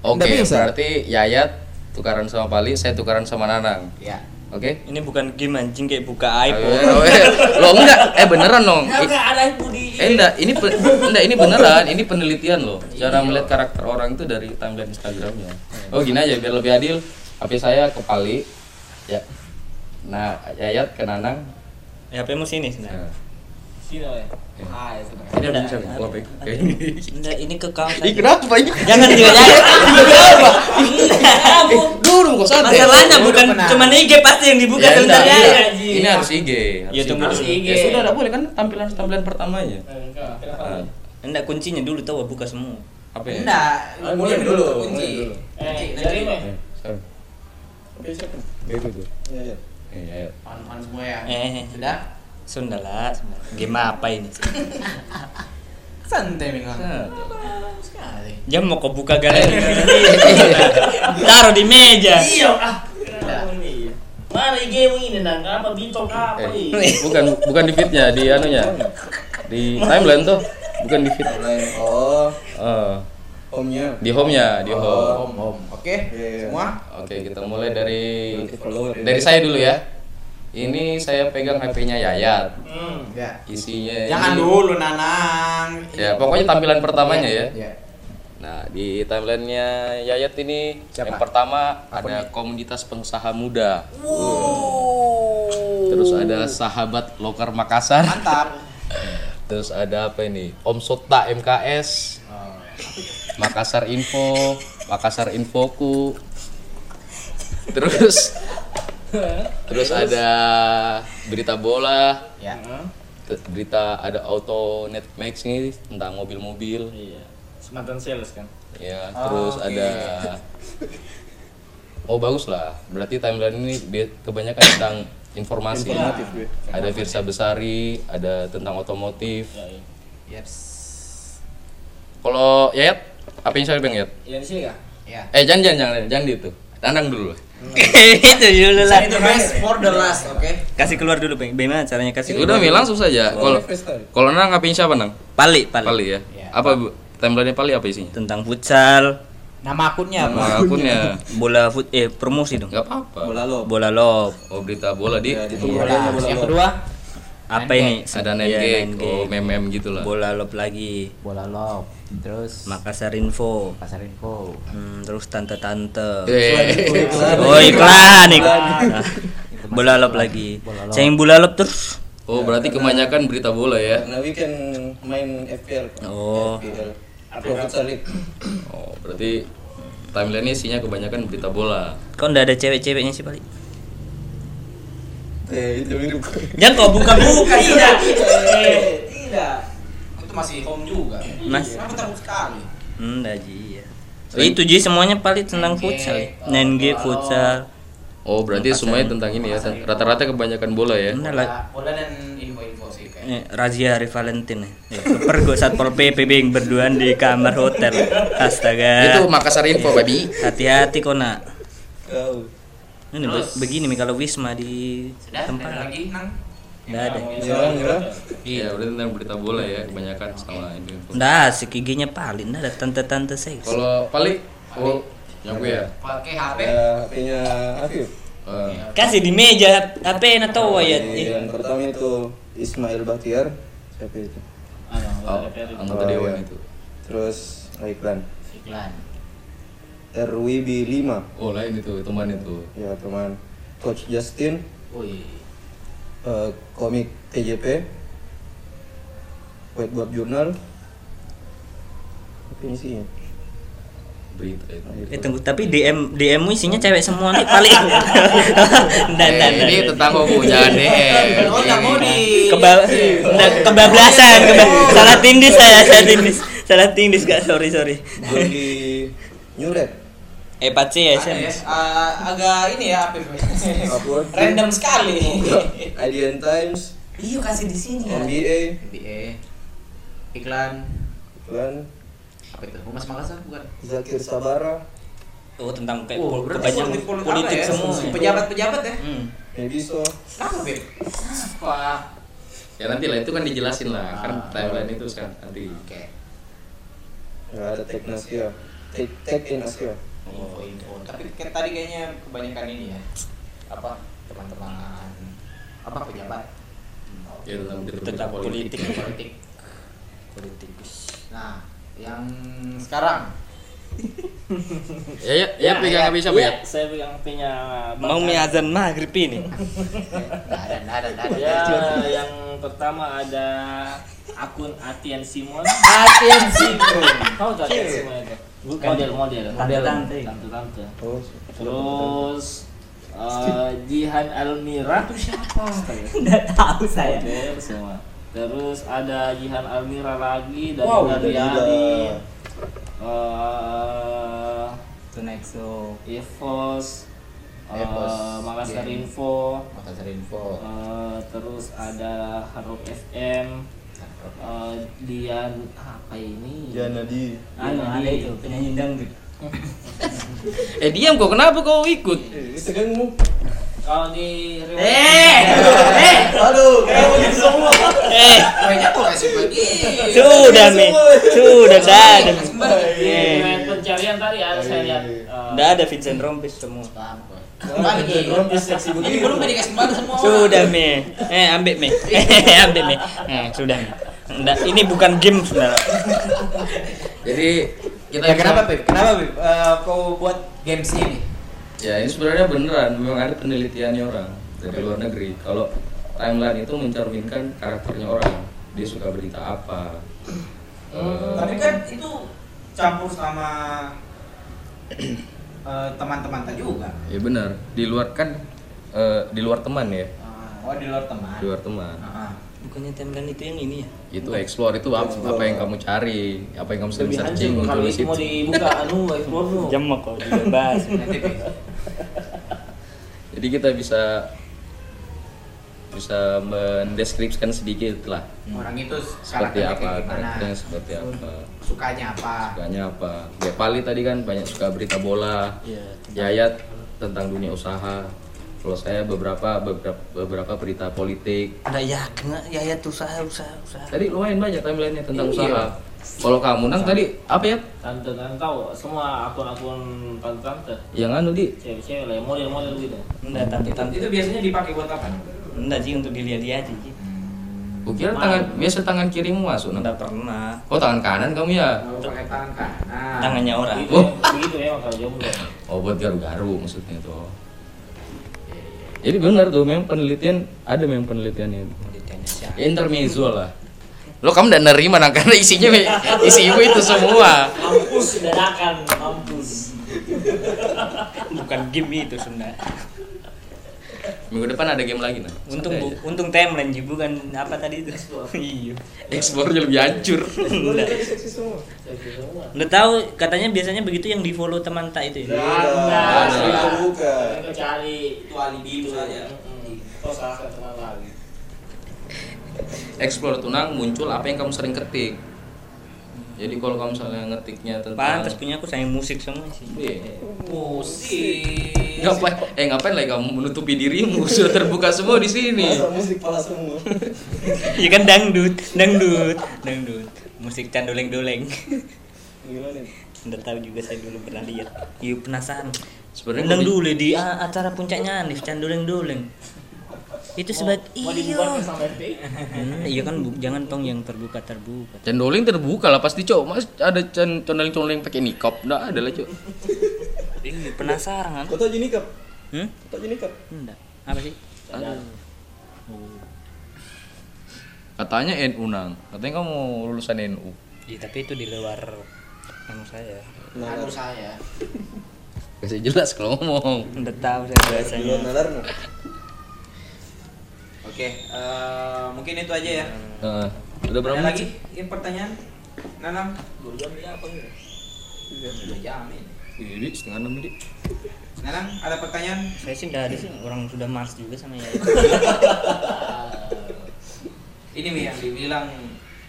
Oke, Ndak bisa. berarti Yayat tukaran sama Pali, saya tukaran sama Nanang. ya. Oke? Ini bukan game anjing kayak buka aib. Ayo, eh, Loh enggak, eh beneran dong. I- enggak ada yang budi Eh enggak, ini pe- enggak ini beneran, ini penelitian loh. Iya. Cara melihat karakter orang itu dari timeline Instagramnya. Oh gini aja biar lebih adil. HP saya ke Pali. Ya. Nah, Yayat ke Nanang. Ya, HP-mu sini. Nah. Nah. sini apa ya ah ya sudah Ini ada Ada, bisa nih, ada. wallpaper. Oke. Nggak, ini ke kaos Ih, aja. kenapa ini? Jangan jangan. Iya, Dulu kok santai. Masalahnya bukan cuma IG pasti yang dibuka Ya, sebentar enggak, ya. iya. Ini harus IG. harus Ya, tunggu dulu. Ya sudah enggak boleh kan tampilan tampilan pertamanya. enggak kenapa Nah, Enggak kuncinya dulu tahu buka semua. Apa ya? Enggak, Ah, mulai mulai dulu dulu, kunci. mulai dulu. eh Kunci, jadi nanti. mah Eh, sorry. Bego tuh. Iya, iya. ya? Eh, Yayat. Pan-pan semua ya. Eh. Sudah. Sundala, game apa ini? Santai Mingo. Hmm. Santai. Sekali. Jam mau kau buka galeri. Taruh di meja. iya ah kenapa ini mana game ini nang apa bintang apa ini Eh, bukan bukan di feednya, di anunya. Di timeline tuh, bukan di feed. Lain. Oh, Eh, omnya. di home-nya, di home. Om, om. Oke, Iya, iya. semua. Oke, kita mulai dari Nanti follower ya. dari saya dulu ya. Ini saya pegang HP-nya Yayat. hmm Ya. Isinya Jangan ini- dulu Nanang. Ya, pokoknya tampilan pertamanya ya. Ya. Nah, di timelinenya Yayat ini yang pertama ada komunitas pengusaha muda. Terus ada sahabat Loker Makassar. Mantap. Terus ada apa ini? Om Sota MKS. Makassar Info, Makassar Infoku. Terus Terus ada berita bola, Ya. te- berita ada auto netmax nih tentang mobil-mobil. Iya. Mantan sales kan. Ya, terus ada Oh bagus lah, berarti timeline ini bi- kebanyakan tentang informasi. Ada Virsa Besari, ada tentang otomotif. Yes. Kalau Yayat, apa yang saya pengen Yayat? Iya di sini kah? Ya. Eh jangan jangan jangan jangan di itu, tandang dulu lah. itu dulu lah. The best for the last, oke? gitu, Kasih keluar dulu, Bang. Bagaimana caranya kasih Udah, keluar? Mi, langsung saja. Kalau kalau nang ngapain siapa nang? Pali, pali. Pali ya. Apa bu- timelinenya Pali apa isinya? Tentang futsal, Nama akunnya apa? Nama akunnya bola fut eh promosi dong. nggak apa-apa. bola Ya, lo Bola lob. Oh berita bola di itu iya. Bola. Yang kedua? Apa ini? ada Iya, netgag, nine oh gag. meme-meme gitu lah. Bola lob lagi. Bola lob. Terus Makassar Info. pasar info. Hmm, terus tante-tante. Eh, Oh iklan iklan. Nah, bola lob lagi. Ceng bola lob terus. Oh berarti kebanyakan berita bola ya? karena weekend main FPL Pak. Oh. FPL Pro Futsal League. Oh berarti timeline ini isinya kebanyakan berita bola. Kok ndak ada cewek-ceweknya sih balik? eh itu mirip Jangan kok buka-buka Tidak. Tidak. Itu masih home juga. Mas. Kenapa terus sekali? Hmm, ndak Ji, ya. Oh, itu Ji semuanya paling tentang futsal. oh, ya. Nine G futsal. Oh berarti semuanya tentang ini ya? Rata-rata kebanyakan bola ya? Ndak lah. Bola- Bola dan info-info sih kayak. Eh, razia hari Valentine ya. Pergo Satpol PP yang berduaan di kamar hotel. Astaga. Itu Makassar Info babi. Hati-hati kok nak. kau Ini be- begini Mi, kalau Wisma di Sudah, ada tempat lagi nang. ndak ada. nyerang nyerang Iya berarti tentang berita bola ya kebanyakan sama ini. Ndak, si giginya paling ndak ada tante-tante seks. Kalau Pali, oh yang gue ya. Pakai HP. ya punya Afif Eh, Kasih di meja HP Oh, atau iya. ya. Di yang pertama itu Ismail Baktiar siapa itu iya. oh, anggota dewan itu. terus Raiklan Iklan. RWB 5 Oh lain itu teman itu. ya teman Coach Justin Wih. eh, komik TJP Whiteboard Journal apa ini sih ya? Berita itu. Nah, itu. Eh tunggu, tapi DM DM mu isinya cewek semua nih paling. Ndak, ndak, Eh, ndak. ini tentang eh. homo jangan deh. Oh, nggak mau di. Iya. Keba ndak, kebablasan, keba- salah tindis saya, salah tindis. Salah tindis gak sorry sorry. Jordi Nyuret Eh pace ya, Ada ya, Sam. eh, agak ini ya apa Upload. random sekali IDN Times iyo kasih di sini Iya. NBA NBA iklan dan apa itu humas Makassar bukan Zakir Sabara Oh, tentang kayak Oh, pol- berarti kebanyakan politik- politik apa ya? semua. ya. pejabat-pejabat ya Hmm. Mebiso kenapa Beb? apa Ya nanti lah itu kan dijelasin lah kan timeline itu kan nanti. oke nggak ada Tech Asia Tech Tech in Asia Oh, info-info tapi kayak tadi kayaknya kebanyakan ini ya apa teman-teman apa pejabat Ya tentang berita Tentang politik. politik nah yang sekarang Ya ya ya pegang habis siapa ya? Iya, Saya pegang punya Mau mi azan maghrib ini. nggak ada nggak ada nggak ada Ya, yang pertama ada akun Atian Simon. Latihan sinkron Tahu tak Atian Simon itu? Model-model. Tante-tante. Tante-tante. oh Terus eh, Jihan Almira itu siapa? Nah, ya. Enggak tahu saya. Model semua. Terus ada Jihan Almira lagi dari wow wow, ada dari juga eh Tunexo. Evos, eh, Evos, Makassar iya. Info, Makassar info eh, terus ada Haruk FM, eh, Dian apa ini? Jana di Ana Ada itu penyanyi dangdut. Eh diam kok kenapa kau ikut? itu kan mu Oh di Eh, eh, aduh kamu di semua eh. kayaknya kok gitu. kasih Iya, bagi Sudah mi, sudah ndak ada. Eh. Di pencarian tadi ada saya lihat. eh, Ndak ada Vincent Rompis semua. Iya, Kembali Ki. Ini gitu? belum kan dikasih kembali semua. Sudah mi. Eh, ambek mi. Eh, ambek mi. Eh, sudah mi. Nggak, ini bukan game sebenarnya. Jadi kita Ya, kenapa Beb? Kenapa Beb? Eh, kau buat games ini? Ya ini sebenarnya beneran memang ada penelitiannya orang dari luar negeri. Kalau timeline itu mencerminkan karakternya orang. Dia suka berita apa? Hmm. Eh, Tapi kan itu campur sama eh, teman-teman tadi juga. ya benar. Di luar kan eh, di luar teman ya, Ah, Oh di luar teman. di luar teman. Bukannya temkan itu yang ini ya? Itu explore itu apa, Explore. apa yang kamu cari, apa yang kamu sering lebih hancur searching kalau tulis itu mau itu. dibuka anu explore lu Jamak kok juga bahas. Nah, Jadi kita bisa bisa mendeskripsikan sedikit lah Hmm. Orang itu karakternya seperti kayak apa, gimana? karakternya seperti apa. Sukanya apa? sukanya apa ya Pali tadi kan banyak suka berita bola Iya, Yayat tentang dunia usaha kalau saya beberapa beberapa beberapa berita politik Udah yakin nggak? ya ya tuh usaha usaha usaha. tadi lumayan banyak timelinenya tentang Iya. usaha kalau kamu nang tadi apa ya tante kan tahu semua akun-akun tante tante yang anu di cewek-cewek lah model model gitu Enggak, tapi tante Itu biasanya dipakai buat apa? enggak sih untuk dilihat-lihat sih. Hmm, kukira tangan biasa tangan kirimu masuk nang Enggak pernah. oh tangan kanan kamu ya Kalau pakai tangan kanan. Tangannya orang. begitu Oh. ya, begitu ya kalau jomblo oh buat garu-garu maksudnya itu jadi benar tuh memang penelitian ada memang penelitiannya Penelitiannya siapa? intermezzo lah lo kamu udah nerima nang karena isinya isimu itu semua mampus dadakan mampus Bukan game itu sebenarnya. Minggu depan ada game lagi nah. Untung Santai bu, ya. aja. untung timeline ji bukan apa tadi itu. iya. explore-nya lebih hancur. Enggak. Udah tahu katanya biasanya begitu yang di follow teman tak itu ya. Nah, itu bukan. mereka cari Itu alibi itu saja. terus salah satu teman lagi explore tunang muncul apa yang kamu sering ketik. Jadi kalau kamu misalnya ngetiknya tentang Pantas punya aku sayang musik semua sih. Iya. Musik. Ngapain? Eh ngapain lagi kamu menutupi dirimu? Sudah terbuka semua di sini. Masa musik pala semua. Iya kan dangdut, dangdut, dangdut. Musik can doleng-doleng. Gila nih. Nggak tahu juga saya dulu pernah lihat. Iya penasaran. Sebenarnya Undang kalau dulu di a- acara puncaknya Anif can doleng-doleng. Itu sebagai iya. mau dibubarkan sama FPI Hmm, iya kan bu- jangan tong yang terbuka terbuka. Cendoling terbuka lah pasti cok. Mas ada cen- cendoling-cendoling pakai nikop. Enggak ada lah cok. Ih, penasaran Kau kan? tau Junikap? Hmm? Kau tau Junikap? Enggak. Apa sih? Katanya NU nang. Katanya kamu mau lulusan NU. Iya, tapi itu di luar anu saya. Nah, Aduh saya. Kasih jelas kalau ngomong. Udah tahu saya Duluan bahasanya. nalarmu. Oke, eh, mungkin itu aja ya. Nah, udah berapa Ada menit lagi sih? yang pertanyaan? Nanam? Dua jam ya apa Iya, Di setengah enam Di. Nanam, ada pertanyaan? Saya sih udah ada sih orang sudah mars juga sama ya. Ini Mi yang dibilang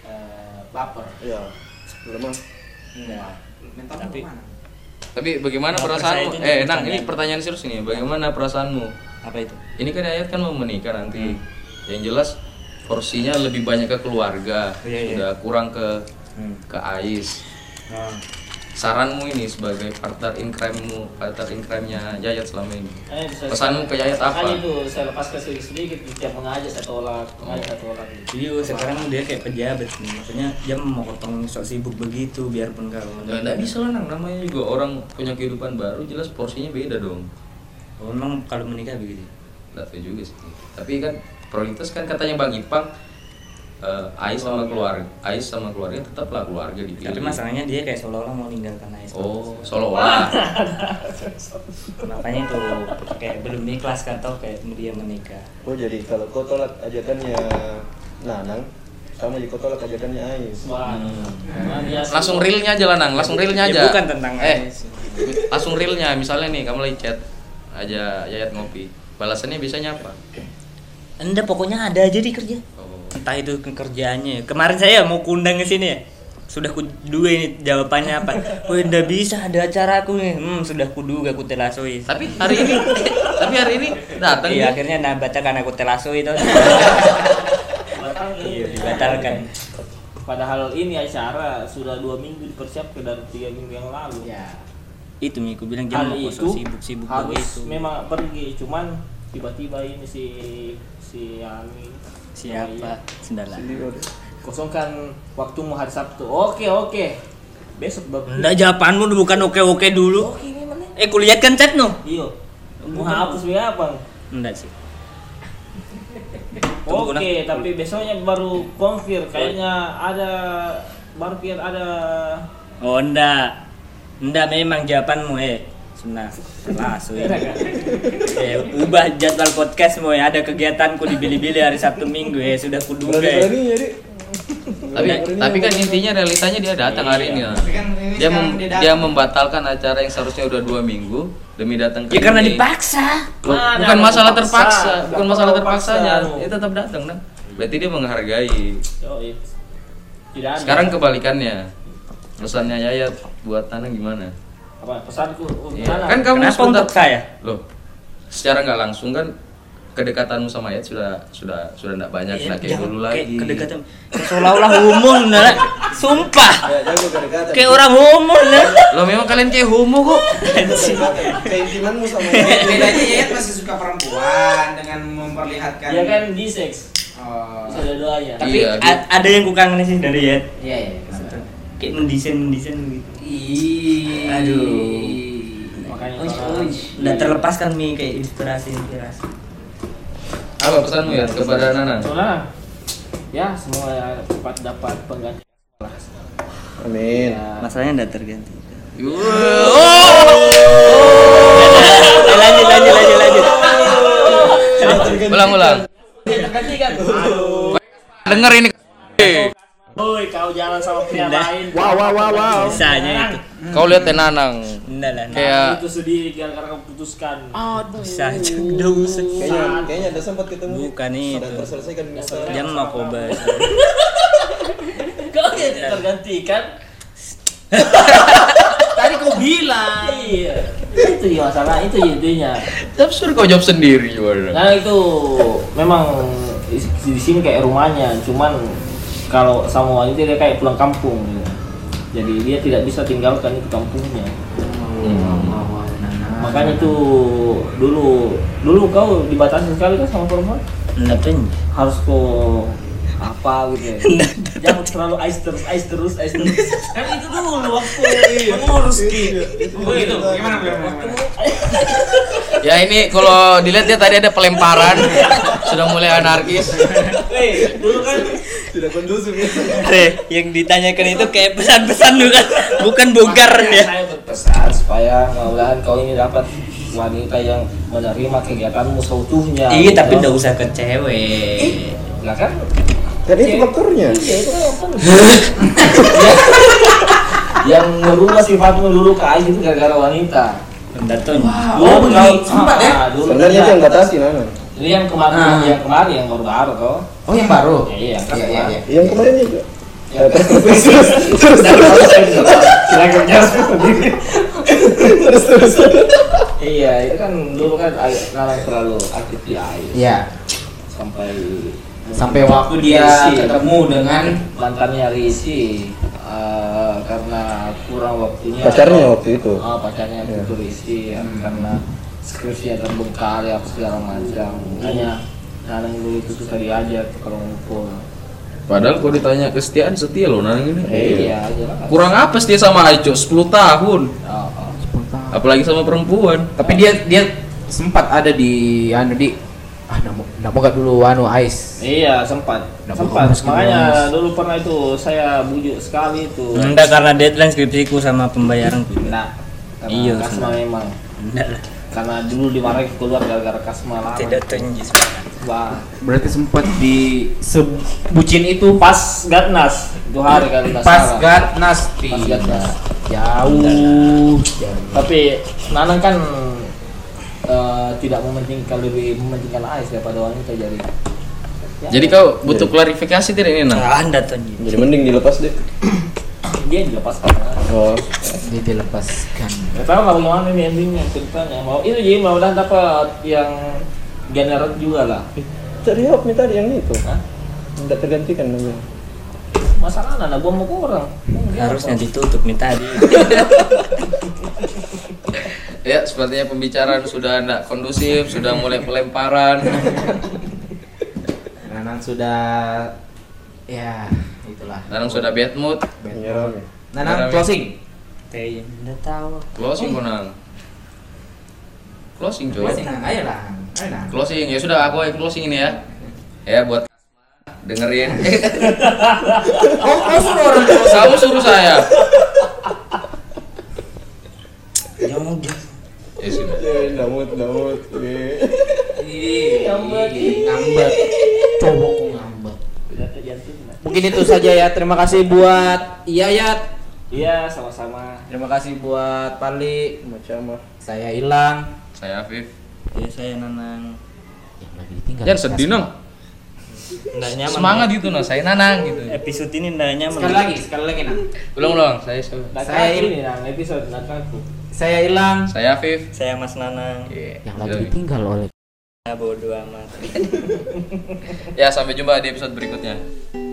eh, baper. Iya. Lemah. Enggak. Mental Tapi- lu mana? Tapi bagaimana Baper saya perasaanmu? itu Eh, jadi Nang, ini bercandaan. pertanyaan serius nih. Bagaimana perasaanmu? Apa itu? Ini kan Ayat kan mau menikah nanti. Yang jelas porsinya lebih banyak ke keluarga, Iya, iya. sudah kurang ke ke Ais. Nah, Saranmu ini sebagai partner in crime-mu, partner in crime-nya Yayat selama ini. Eh, bisa- Pesanmu ke Yayat Makanya apa? itu saya lepas ke sini sedikit tiap mengajak satu orang, mengajak satu orang gitu. Iya, sekarang dia kayak pejabat nih. Maksudnya dia mau potong sok sibuk begitu biarpun kalau Ya, nggak bisa lah Nang, namanya juga orang punya kehidupan baru jelas porsinya beda dong. Oh, Memang kalau menikah begitu. Nggak tahu juga sih. Tapi kan prioritas kan katanya Bang Ipang eh, Ais sama keluarga, Ais sama keluarga tetaplah keluarga dipilih. Tapi masalahnya dia kayak seolah-olah mau ninggalkan Ais. Oh, seolah-olah. Makanya itu kayak belum ikhlas kan tau kayak dia menikah. Oh jadi kalau kau tolak ajakannya Nanang, sama aja kau tolak ajakannya Ais. Wah, luar biasa. langsung realnya aja lah nang langsung realnya aja Ya, bukan tentang eh Ais. langsung realnya misalnya nih kamu lagi chat aja yayat ngopi balasannya biasanya apa Anda pokoknya ada aja di kerja. oh. entah itu kerjaannya kemarin saya mau kundang ke sini ya sudah ku dua ini jawabannya apa oh udah bisa ada acara aku nih hmm, sudah kuduga aku telasoi tapi hari ini tapi hari ini datang dia. iya akhirnya nah baca karena aku telasoi tau Batal ini. iya dibatalkan Padahal ini acara sudah dua minggu dipersiapkan dari tiga minggu yang lalu. itu mi aku bilang jangan mau Hari itu kosong sibuk sibuk harus begitu memang pergi, cuman tiba-tiba ini si si Ani siapa sendala kosongkan waktumu hari Sabtu. Oke oke, besok bagus. ndak jawabanmu bukan oke oke dulu Oke Oh, ini mana? eh kulihat kan chat no Iya, mau hapus ya bang. ndak sih Oke, Tunggu, nah. tapi besoknya baru konfir kayaknya ada baru pikir ada oh ndak ndak memang jawabanmu eh Senang, langsung ini. Eh, ubah jadwal podcast mau ada kegiatanku di Bilibili hari Sabtu Minggu ya sudah kuduga. Berani-berani ya. jadi tapi tapi kan intinya realitanya dia datang hari Iya. ini lah Tapi kan ini dia sekarang mem- dia dia datang. membatalkan acara yang seharusnya udah dua minggu demi datang ke Ya karena sini. dipaksa. Bu- Mana bukan mau masalah paksa? terpaksa Nggak bukan perlu masalah paksa, terpaksanya lu. dia tetap datang nah berarti dia menghargai Yoi. Tidak ada. sekarang kebalikannya pesannya Yayat buat Tanah gimana apa pesanku oh, untuk Iya. Nana. kan kamu Kenapa sebentar- untuk saya? loh secara nggak langsung kan kedekatanmu sama Yayat sudah sudah sudah tidak banyak Iya, nggak kayak jangan dulu kayak lagi Kedekatan. Kayak Seolah-olah homo sebenarnya. Sumpah. Ya, jago kedekatan. Kayak orang homo sebenarnya. lo memang kalian kayak homo kok Anjing. Keintimanmu sama bedanya Yayat masih suka perempuan dengan memperlihatkan Dia kan bisex. Oh, Bisa dua-duanya. Tapi Iya, a- ada yang ku kangenin sih dari ya. iya iya kenapa? Kayak mendesain mendesain gitu. Ih. Aduh. Makanya Uj, kalau- uj. Udah terlepaskan mi kayak inspirasi inspirasi. apa pesanmu ya kepada Nana Saudara. Ya, semua cepat dapat pengganti. Amin. Masalahnya udah terganti. Oh! Eh, lanjut lanjut lanjut lanjut ulang ulang denger ini Woi, kau jalan sama pria lain. Wow, wow, wow, wow. Bisanya itu. kau lihat Nanang Enggak lah. nah. kayak Itu sedih gara-gara kamu putuskan. Bisa aja dong. Kayaknya kayaknya ada sempat ketemu. Bukan Dan itu. terselesaikan masalah. Dia mau koba. Kau kan yang kan? tergantikan. Tadi kau bilang. Iya. Itu ya masalah, itu intinya. tapi suruh kau jawab sendiri gimana Nah itu memang di, di sini kayak rumahnya, cuman kalau sama wanita dia kayak pulang kampung. gitu. Jadi dia tidak bisa tinggalkan itu kampungnya. Makanya itu dulu dulu kau dibatasi sekali kan sama perempuan Enggak tuh. harus kau apa gitu ya. Jangan terlalu ice terus, ice terus, ice terus. kan itu dulu waktu Mengurus gitu. Begitu. Gimana gimana? ya ini kalau dilihat dia tadi ada pelemparan sudah mulai anarkis Tidak kondusif ya. Eh, yang ditanyakan itu kayak pesan-pesan bukan bukan bogar ya. saya berpesan supaya mudah-mudahan kau ini dapat wanita yang menerima kegiatanmu seutuhnya. Iya, gitu. tapi enggak usah ke cewek. Lah kan? Kan itu faktornya. Iya itu kan apa? yang merubah sifatmu dulu ke Ais itu gara-gara wanita. Enggak tuh. Dulu kau Ah, oh, sempat ya? Ah, Dulu Sebenarnya enggak. dia nggak batasi Nana. Jadi yang kemarin, Ah. yang kemarin yang baru-baru kau. Oh yang baru. Ya, iya, yang Iya iya iya. Yang kemarin juga. Ya, Terus terus terus terus terus terus terus Iya, itu kan dulu kan Ais- Nanang terlalu aktif di Ais Iya. sampai Sampai Iya, waktu dia Isi. ketemu dengan mantannya Risi eh, karena kurang waktunya Pacarnya waktu itu. Ah, pacarnya Iya. itu Risi ya, karena skripsinya terbengkalai apa segala macam makanya Nanang dulu itu susah diajak kalau ngumpul padahal kalau ditanya kesetiaan setia loh Nanang ini iya jelas kurang apa setia sama Ajo 10 tahun Ah, ah. apalagi sama perempuan tapi dia dia sempat ada di anu di ah namo namo gak dulu anu Ais. iya sempat Nggak sempat bohong, makanya Mas. Hmm. dulu pernah itu saya bujuk sekali itu Enggak karena deadline skripsiku sama pembayaran gitu. nah karena Iya, Kasma senang. memang Enggak lah. karena dulu dimarahin keluar gara-gara Kasma lama Tidak tunjuk. Wah. Berarti sempat di sebucin itu pas Gatnas itu hari kan nggak pas salah. Gatnas Pi. Pas Gatnas. Iya. Jauh. tapi Nanang kan eh, tidak mementingkan lebih mementingkan Ais daripada wanita jadi jadi kau butuh klarifikasi tidak ini Nang Ah, enggak tunjuk. Jadi mending dilepas deh. dia dilepaskan Oh. Dia dilepaskan. nggak tahu kalau gimana nih endingnya ceritanya mau itu jadi mudah-mudahan dapat yang generat juga lah Cari help nih tadi yang itu. Hah? Tidak tergantikan namanya. masalah anak gua mau kurang Harusnya ditutup nih tadi. ya sepertinya pembicaraan sudah tidak kondusif sudah mulai pelemparan Nanang sudah ya itulah. Nanang sudah bad mood Bad Menyerang. ya. Nanang closing. Teh, enggak tahu. closing kok Nang closing coy Closing Nang, ayo lah. Ayo Nang. closing ya sudah aku yang closing ini ya ya buat dengerin Oh, kau suruh orang kamu suruh saya Jangan jangan. ya sudah Namut, namut. Ih, Ngambek. Cowok kok ngambek. Mungkin itu saja ya. Terima kasih buat Yayat. Iya, sama-sama. Terima kasih buat Pali. Saya hilang. saya Afif Ya saya nanang. Yang lagi ditinggal. jangan sedih nong Nggak ya, nyaman. ya. semangat gitu nong saya nanang gitu Episode ini nggak nyaman. Sekali lagi, sekali lagi nah. ulang ulang saya saya Saya Saya- ini nang episode nakaku. Saya hilang. saya Afif Saya Mas Nanang. Oke, Yang gitu. lagi ditinggal oleh Ya, bodo amat. ya sampai jumpa di episode berikutnya